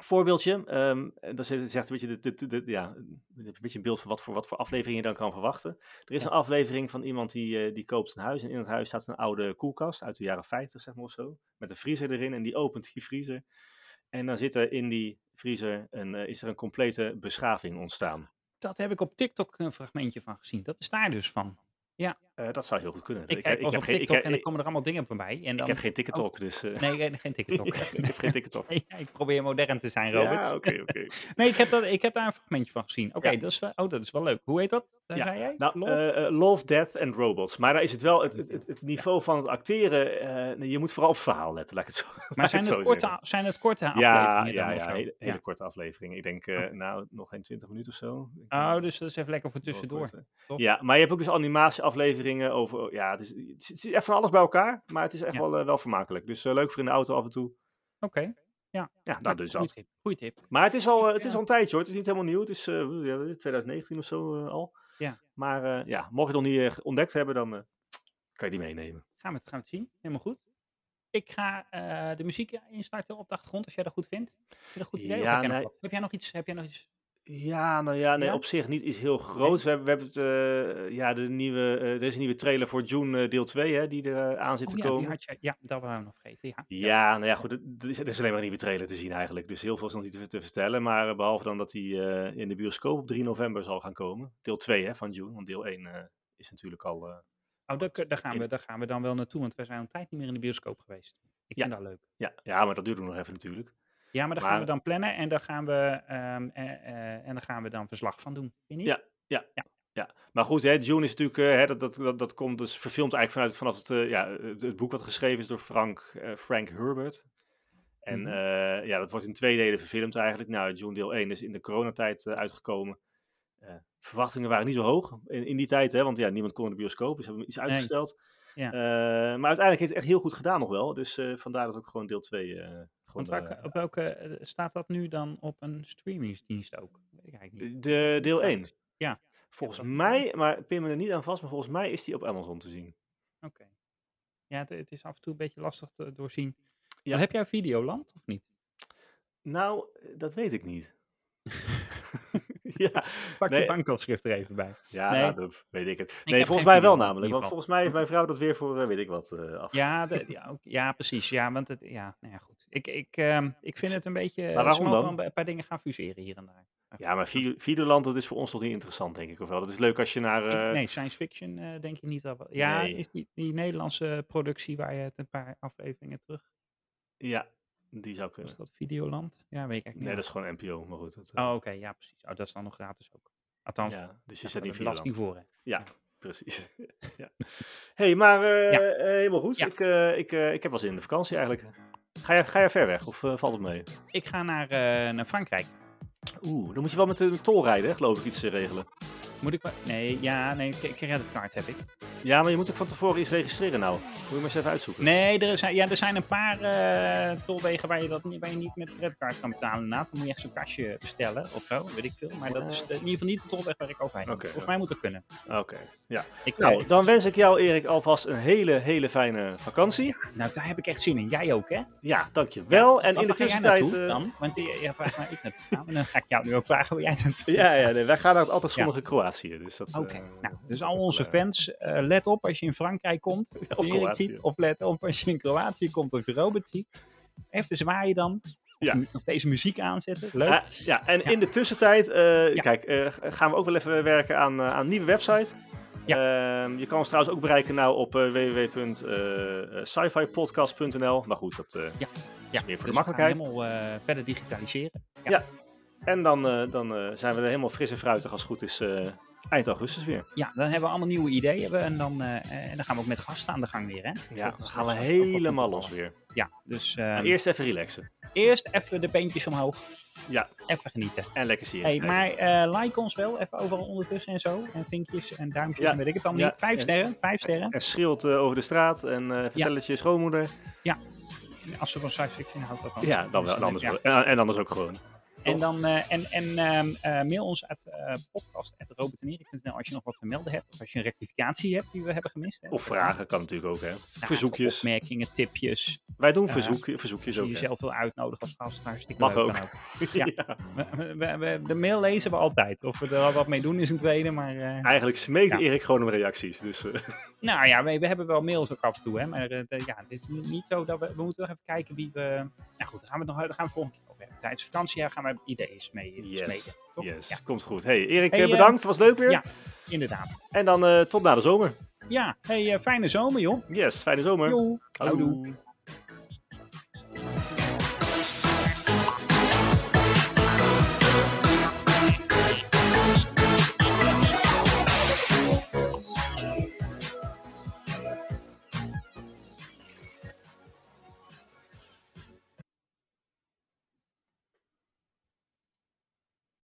Speaker 1: voorbeeldje, ehm, en dat is, zegt een beetje, de, de, de- de- ja, je hebt een beetje een beeld van wat voor, wat voor aflevering je dan kan verwachten. Er is
Speaker 2: Ja.
Speaker 1: een aflevering van iemand die, eh, die koopt een huis en in het huis staat een oude koelkast uit de jaren 50 zeg maar of zo. Met een vriezer erin en die opent die vriezer. En dan zit er in die vriezer, een, eh, is er een complete beschaving ontstaan.
Speaker 2: Dat heb ik op TikTok een fragmentje van gezien. Dat is daar dus van.
Speaker 1: Eh, dat zou heel goed kunnen.
Speaker 2: Ik, kijk pas op
Speaker 1: geen-
Speaker 2: TikTok
Speaker 1: heb-
Speaker 2: en dan komen er allemaal dingen voorbij. En
Speaker 1: Ik
Speaker 2: dan,
Speaker 1: heb geen TikTok, dus... eh,
Speaker 2: Nee, geen- geen TikTok.
Speaker 1: ik heb geen TikTok.
Speaker 2: Nee, ja, ik probeer modern te zijn, Robert.
Speaker 1: Ja, oké, oké.
Speaker 2: Nee, ik heb, dat, ik heb daar een fragmentje van gezien. Oké,
Speaker 1: Ja.
Speaker 2: dat, is wel- oh, dat is wel leuk. Hoe heet dat? eh,
Speaker 1: Ja,
Speaker 2: zei jij?
Speaker 1: Nou,
Speaker 2: Lol?
Speaker 1: eh, eh, Love, Death and Robots. Maar daar is het wel het, het, het- het niveau van het acteren... eh, nee, je moet vooral op het verhaal letten, laat ik het zo laat
Speaker 2: maar
Speaker 1: ik
Speaker 2: zijn het,
Speaker 1: zo
Speaker 2: korte,
Speaker 1: zeggen.
Speaker 2: a- zijn het korte
Speaker 1: Ja,
Speaker 2: afleveringen
Speaker 1: ja,
Speaker 2: dan of
Speaker 1: ja,
Speaker 2: zo?
Speaker 1: hele, hele
Speaker 2: Ja.
Speaker 1: korte aflevering. Ik denk, eh, nou, nog geen 20 minuten of zo. Ik denk, eh,
Speaker 2: Oh, dus dat is even lekker voor
Speaker 1: wel
Speaker 2: tussendoor.
Speaker 1: kort, eh.
Speaker 2: toch?
Speaker 1: Ja, maar je hebt ook dus animatieafleveringen over... oh, Ja, het is, het zit echt van alles bij elkaar, maar het is echt
Speaker 2: Ja.
Speaker 1: wel, eh, wel vermakelijk. Dus eh, leuk voor in de auto af en toe.
Speaker 2: Oké.
Speaker 1: Ja, nou, dus
Speaker 2: Goeie
Speaker 1: dat.
Speaker 2: tip. Goeie tip.
Speaker 1: Maar het is al, eh, het
Speaker 2: Ja.
Speaker 1: is al een tijdje hoor. Het is niet helemaal nieuw. Het is eh, ja, 2019 of zo eh, al.
Speaker 2: Ja.
Speaker 1: Maar eh, ja, mocht je het nog niet eh, ontdekt hebben, dan eh, kan je die meenemen.
Speaker 2: Gaan we, het, gaan we het zien. Helemaal goed. Ik ga eh, de muziek instarten op de achtergrond, als jij dat goed vindt. Vind je dat een goed idee? Of
Speaker 1: Ja,
Speaker 2: heb, jij nog
Speaker 1: nee.
Speaker 2: wat? heb jij nog iets? Heb jij nog iets?
Speaker 1: Ja, nou ja, nee,
Speaker 2: Ja?
Speaker 1: op zich niet iets heel groots. We hebben, we hebben het, eh, ja, de nieuwe, eh, er is een nieuwe trailer voor June eh, deel 2 hè, die er eh, aan zit
Speaker 2: Oh,
Speaker 1: te
Speaker 2: ja, die
Speaker 1: komen.
Speaker 2: had jij, ja, dat waren we nog vergeten. Ja.
Speaker 1: Ja, nou ja, goed, er- er is, er is alleen maar een nieuwe trailer te zien eigenlijk. Dus heel veel is nog niet te, te vertellen. Maar eh, behalve dan dat die eh, in de bioscoop op 3 november zal gaan komen. Deel 2 hè, van June, want deel 1 eh, is natuurlijk al... eh,
Speaker 2: Oh, daar,
Speaker 1: Goed.
Speaker 2: daar, gaan
Speaker 1: Ja.
Speaker 2: we, daar gaan we dan wel naartoe, want we zijn al een tijd niet meer in de bioscoop geweest. Ik
Speaker 1: Ja.
Speaker 2: vind dat leuk.
Speaker 1: ja, ja, maar dat duurt ook nog even natuurlijk.
Speaker 2: Ja, maar dan gaan we
Speaker 1: Maar-
Speaker 2: dan plannen en daar gaan we, ehm, eh, eh, en daar gaan we dan verslag van doen. Vind je niet?
Speaker 1: Ja. Maar goed, hè, June is natuurlijk, eh, hè, dat, dat, dat, dat komt dus verfilmd eigenlijk vanuit vanaf het, eh, ja, het, het boek wat geschreven is door Frank, eh, Frank Herbert. En
Speaker 2: Mhm.
Speaker 1: eh, ja, dat wordt in twee delen verfilmd eigenlijk. Nou, June deel 1 is in de coronatijd eh, uitgekomen. Eh, verwachtingen waren niet zo hoog in, in die tijd, hè, want ja, niemand kon in de bioscoop, dus hebben we hem iets
Speaker 2: Nee.
Speaker 1: uitgesteld.
Speaker 2: Ja.
Speaker 1: Eh, maar uiteindelijk heeft het echt heel goed gedaan nog wel, dus eh, vandaar dat ook gewoon deel 2 eh gewoon...
Speaker 2: Want welke,
Speaker 1: eh,
Speaker 2: op welke eh, staat dat nu dan op een streamingsdienst ook? Weet ik eigenlijk niet.
Speaker 1: de, deel 1.
Speaker 2: Ja.
Speaker 1: Volgens
Speaker 2: Ja, dat-
Speaker 1: mij, maar pin me er niet aan vast, maar volgens mij is die op Amazon te zien.
Speaker 2: Oké. Ja, het, het is af en toe een beetje lastig te doorzien.
Speaker 1: Ja.
Speaker 2: Maar heb jij Videoland of niet?
Speaker 1: Nou, eh, dat weet ik niet. ja,
Speaker 2: Pak je
Speaker 1: Nee.
Speaker 2: bankafschrift er even bij.
Speaker 1: ja
Speaker 2: Nee.
Speaker 1: nou, dat weet ik het. Nee,
Speaker 2: heb
Speaker 1: volgens
Speaker 2: geen
Speaker 1: mij wel
Speaker 2: video, in
Speaker 1: namelijk.
Speaker 2: ieder
Speaker 1: Want
Speaker 2: geval.
Speaker 1: volgens mij heeft
Speaker 2: Want-
Speaker 1: mijn vrouw dat weer voor eh, weet ik wat eh af.
Speaker 2: Ja, de- ja, ook- ja, precies. Ja, want het, ja, nou ja, goed. Ik, ik, ehm, ik vind het een beetje... eh,
Speaker 1: waarom
Speaker 2: ze mogen
Speaker 1: dan?
Speaker 2: wel een paar dingen gaan fuseren hier en daar.
Speaker 1: Ja, maar Vi- Videoland, dat is voor ons toch niet interessant, denk ik. Of wel? Dat is leuk als je naar...
Speaker 2: Ik-
Speaker 1: eh,
Speaker 2: nee, science fiction eh, denk ik niet. Dat we- ja,
Speaker 1: Nee.
Speaker 2: is die, die Nederlandse productie waar je het een paar afleveringen terug...
Speaker 1: Ja, die zou kunnen.
Speaker 2: Was dat Videoland? Ja, weet ik eigenlijk niet.
Speaker 1: Nee,
Speaker 2: meer.
Speaker 1: dat is gewoon NPO, maar goed. Dat, eh,
Speaker 2: Oh, oké, ja, precies. Oh, dat is dan nog gratis ook. Althans, ja,
Speaker 1: ja, dus je
Speaker 2: daar
Speaker 1: zet
Speaker 2: hebben
Speaker 1: in
Speaker 2: we last niet
Speaker 1: Videoland.
Speaker 2: voor. Hè.
Speaker 1: Precies. ja. hey, maar eh,
Speaker 2: Ja.
Speaker 1: eh, helemaal goed.
Speaker 2: Ja.
Speaker 1: Ik, eh, ik, eh, ik heb wel zin in de vakantie eigenlijk. Ga jij, ga jij ver weg of eh, valt het mee?
Speaker 2: Ik ga naar, eh, naar Frankrijk.
Speaker 1: Oeh, dan moet je wel met een tol rijden, hè, geloof ik, iets te regelen.
Speaker 2: Moet ik... wa- Nee, ja, nee, k- creditcard heb ik.
Speaker 1: Ja, maar je moet ook van tevoren iets registreren nou. Moet je maar eens even uitzoeken.
Speaker 2: Nee, er zijn, ja, er zijn een paar eh, tolwegen waar je, dat, niet- waar je niet met creditcard kan betalen. inderdaad. Dan moet je echt zo'n kastje bestellen of zo, weet ik veel. Maar dat is de- in ieder geval niet de tolweg waar ik overheen moet.
Speaker 1: Oké,
Speaker 2: Volgens
Speaker 1: ja.
Speaker 2: mij moet dat kunnen.
Speaker 1: Oké, ja.
Speaker 2: Ik, eh,
Speaker 1: Nou,
Speaker 2: ik-
Speaker 1: dan wens ik jou Erik alvast een hele, hele fijne vakantie.
Speaker 2: nou, daar heb ik echt zin in. Jij ook, hè?
Speaker 1: Ja, dankjewel. En
Speaker 2: Waar
Speaker 1: in de
Speaker 2: ga jij
Speaker 1: tussentijd...
Speaker 2: naartoe
Speaker 1: eh,
Speaker 2: dan? Want je, je vraagt mij ik naartoe gaan. En dan ga ik jou nu ook vragen waar jij naartoe
Speaker 1: Ja, ja nee, wij gaan naar het altijd zonnige Kroatië. Dus dat,
Speaker 2: Oké,
Speaker 1: eh,
Speaker 2: nou, dus
Speaker 1: dat
Speaker 2: al
Speaker 1: wel,
Speaker 2: onze
Speaker 1: eh,
Speaker 2: fans, eh, let op als je in Frankrijk komt, of, Erik
Speaker 1: Kroatië.
Speaker 2: ziet, of let op als je in Kroatië komt of je Robert ziet. Even zwaaien dan,
Speaker 1: Ja.
Speaker 2: ja. nog deze muziek aanzetten, leuk.
Speaker 1: Ah, ja, en in de tussentijd, eh,
Speaker 2: Ja.
Speaker 1: kijk, eh, g- gaan we ook wel even werken aan, eh, aan een nieuwe website. Ehm, je kan ons trouwens ook bereiken nou op eh www.scifipodcast.nl. Maar goed, dat... eh,
Speaker 2: ja,
Speaker 1: meer voor de
Speaker 2: dus
Speaker 1: makkelijkheid.
Speaker 2: We gaan helemaal eh, verder digitaliseren.
Speaker 1: en dan, eh, dan eh, zijn we er helemaal fris en fruitig als het goed is eh, eind augustus weer.
Speaker 2: Ja, dan hebben we allemaal nieuwe ideeën hebben en dan, eh, eh, en dan gaan we ook met gasten aan de gang weer, hè.
Speaker 1: Ja,
Speaker 2: Dat
Speaker 1: dan
Speaker 2: is-
Speaker 1: gaan we
Speaker 2: dat is ook wel goed
Speaker 1: helemaal los
Speaker 2: opgevallen.
Speaker 1: weer.
Speaker 2: Ja, dus eh, eerst...
Speaker 1: Eerst even relaxen.
Speaker 2: even de beentjes omhoog,
Speaker 1: Ja,
Speaker 2: even genieten.
Speaker 1: en lekker zien.
Speaker 2: Hey, maar eh, like ons wel, even overal ondertussen en zo. En vinkjes en duimpjes
Speaker 1: Ja.
Speaker 2: en weet ik het allemaal
Speaker 1: Ja.
Speaker 2: niet. Vijf sterren, vijf sterren.
Speaker 1: En schreeuwt eh, over de straat en eh, vertel het je schoonmoeder.
Speaker 2: Als ze van science fiction houdt, dat
Speaker 1: Ja, dan wel. En anders,
Speaker 2: Ja.
Speaker 1: wel. En, en anders ook gewoon.
Speaker 2: En, dan, eh, en, en ehm, eh, mail ons uit eh podcast.robertenerik.nl als je nog wat te melden hebt. Of als je een rectificatie hebt die we hebben gemist. Hè.
Speaker 1: Of vragen kan natuurlijk ook, hè.
Speaker 2: Vragen,
Speaker 1: Verzoekjes.
Speaker 2: Opmerkingen, tipjes.
Speaker 1: Wij doen
Speaker 2: Ja.
Speaker 1: verzoek, verzoekjes
Speaker 2: Als
Speaker 1: ook.
Speaker 2: je
Speaker 1: hè.
Speaker 2: jezelf wil uitnodigen als gast, hartstikke
Speaker 1: Mag
Speaker 2: leuk,
Speaker 1: ook.
Speaker 2: kan ja. We- we- we- we- de mail lezen we altijd. Of we er wat mee doen is een tweede. Maar eh,
Speaker 1: Eigenlijk smeekt
Speaker 2: Ja.
Speaker 1: Erik gewoon om reacties. Dus eh,
Speaker 2: nou ja, we, we hebben wel mails ook af en toe. Hè, maar eh, de- ja, het is niet, niet zo dat we... We moeten nog even kijken wie we... Nou goed, daar gaan we het nog daar gaan we volgende keer over hebben. Tijdens vakantie gaan we ideeën smeden.
Speaker 1: Yes.
Speaker 2: smeden, toch?
Speaker 1: yes,
Speaker 2: Ja,
Speaker 1: komt goed. Hey, Erik,
Speaker 2: Hey,
Speaker 1: eh,
Speaker 2: eh,
Speaker 1: bedankt. was leuk weer.
Speaker 2: ja. inderdaad.
Speaker 1: En dan eh, tot na de zomer.
Speaker 2: Ja, hey, eh, fijne zomer joh.
Speaker 1: Yes, fijne zomer.
Speaker 2: Joe. Houdoe.
Speaker 1: Houdoe.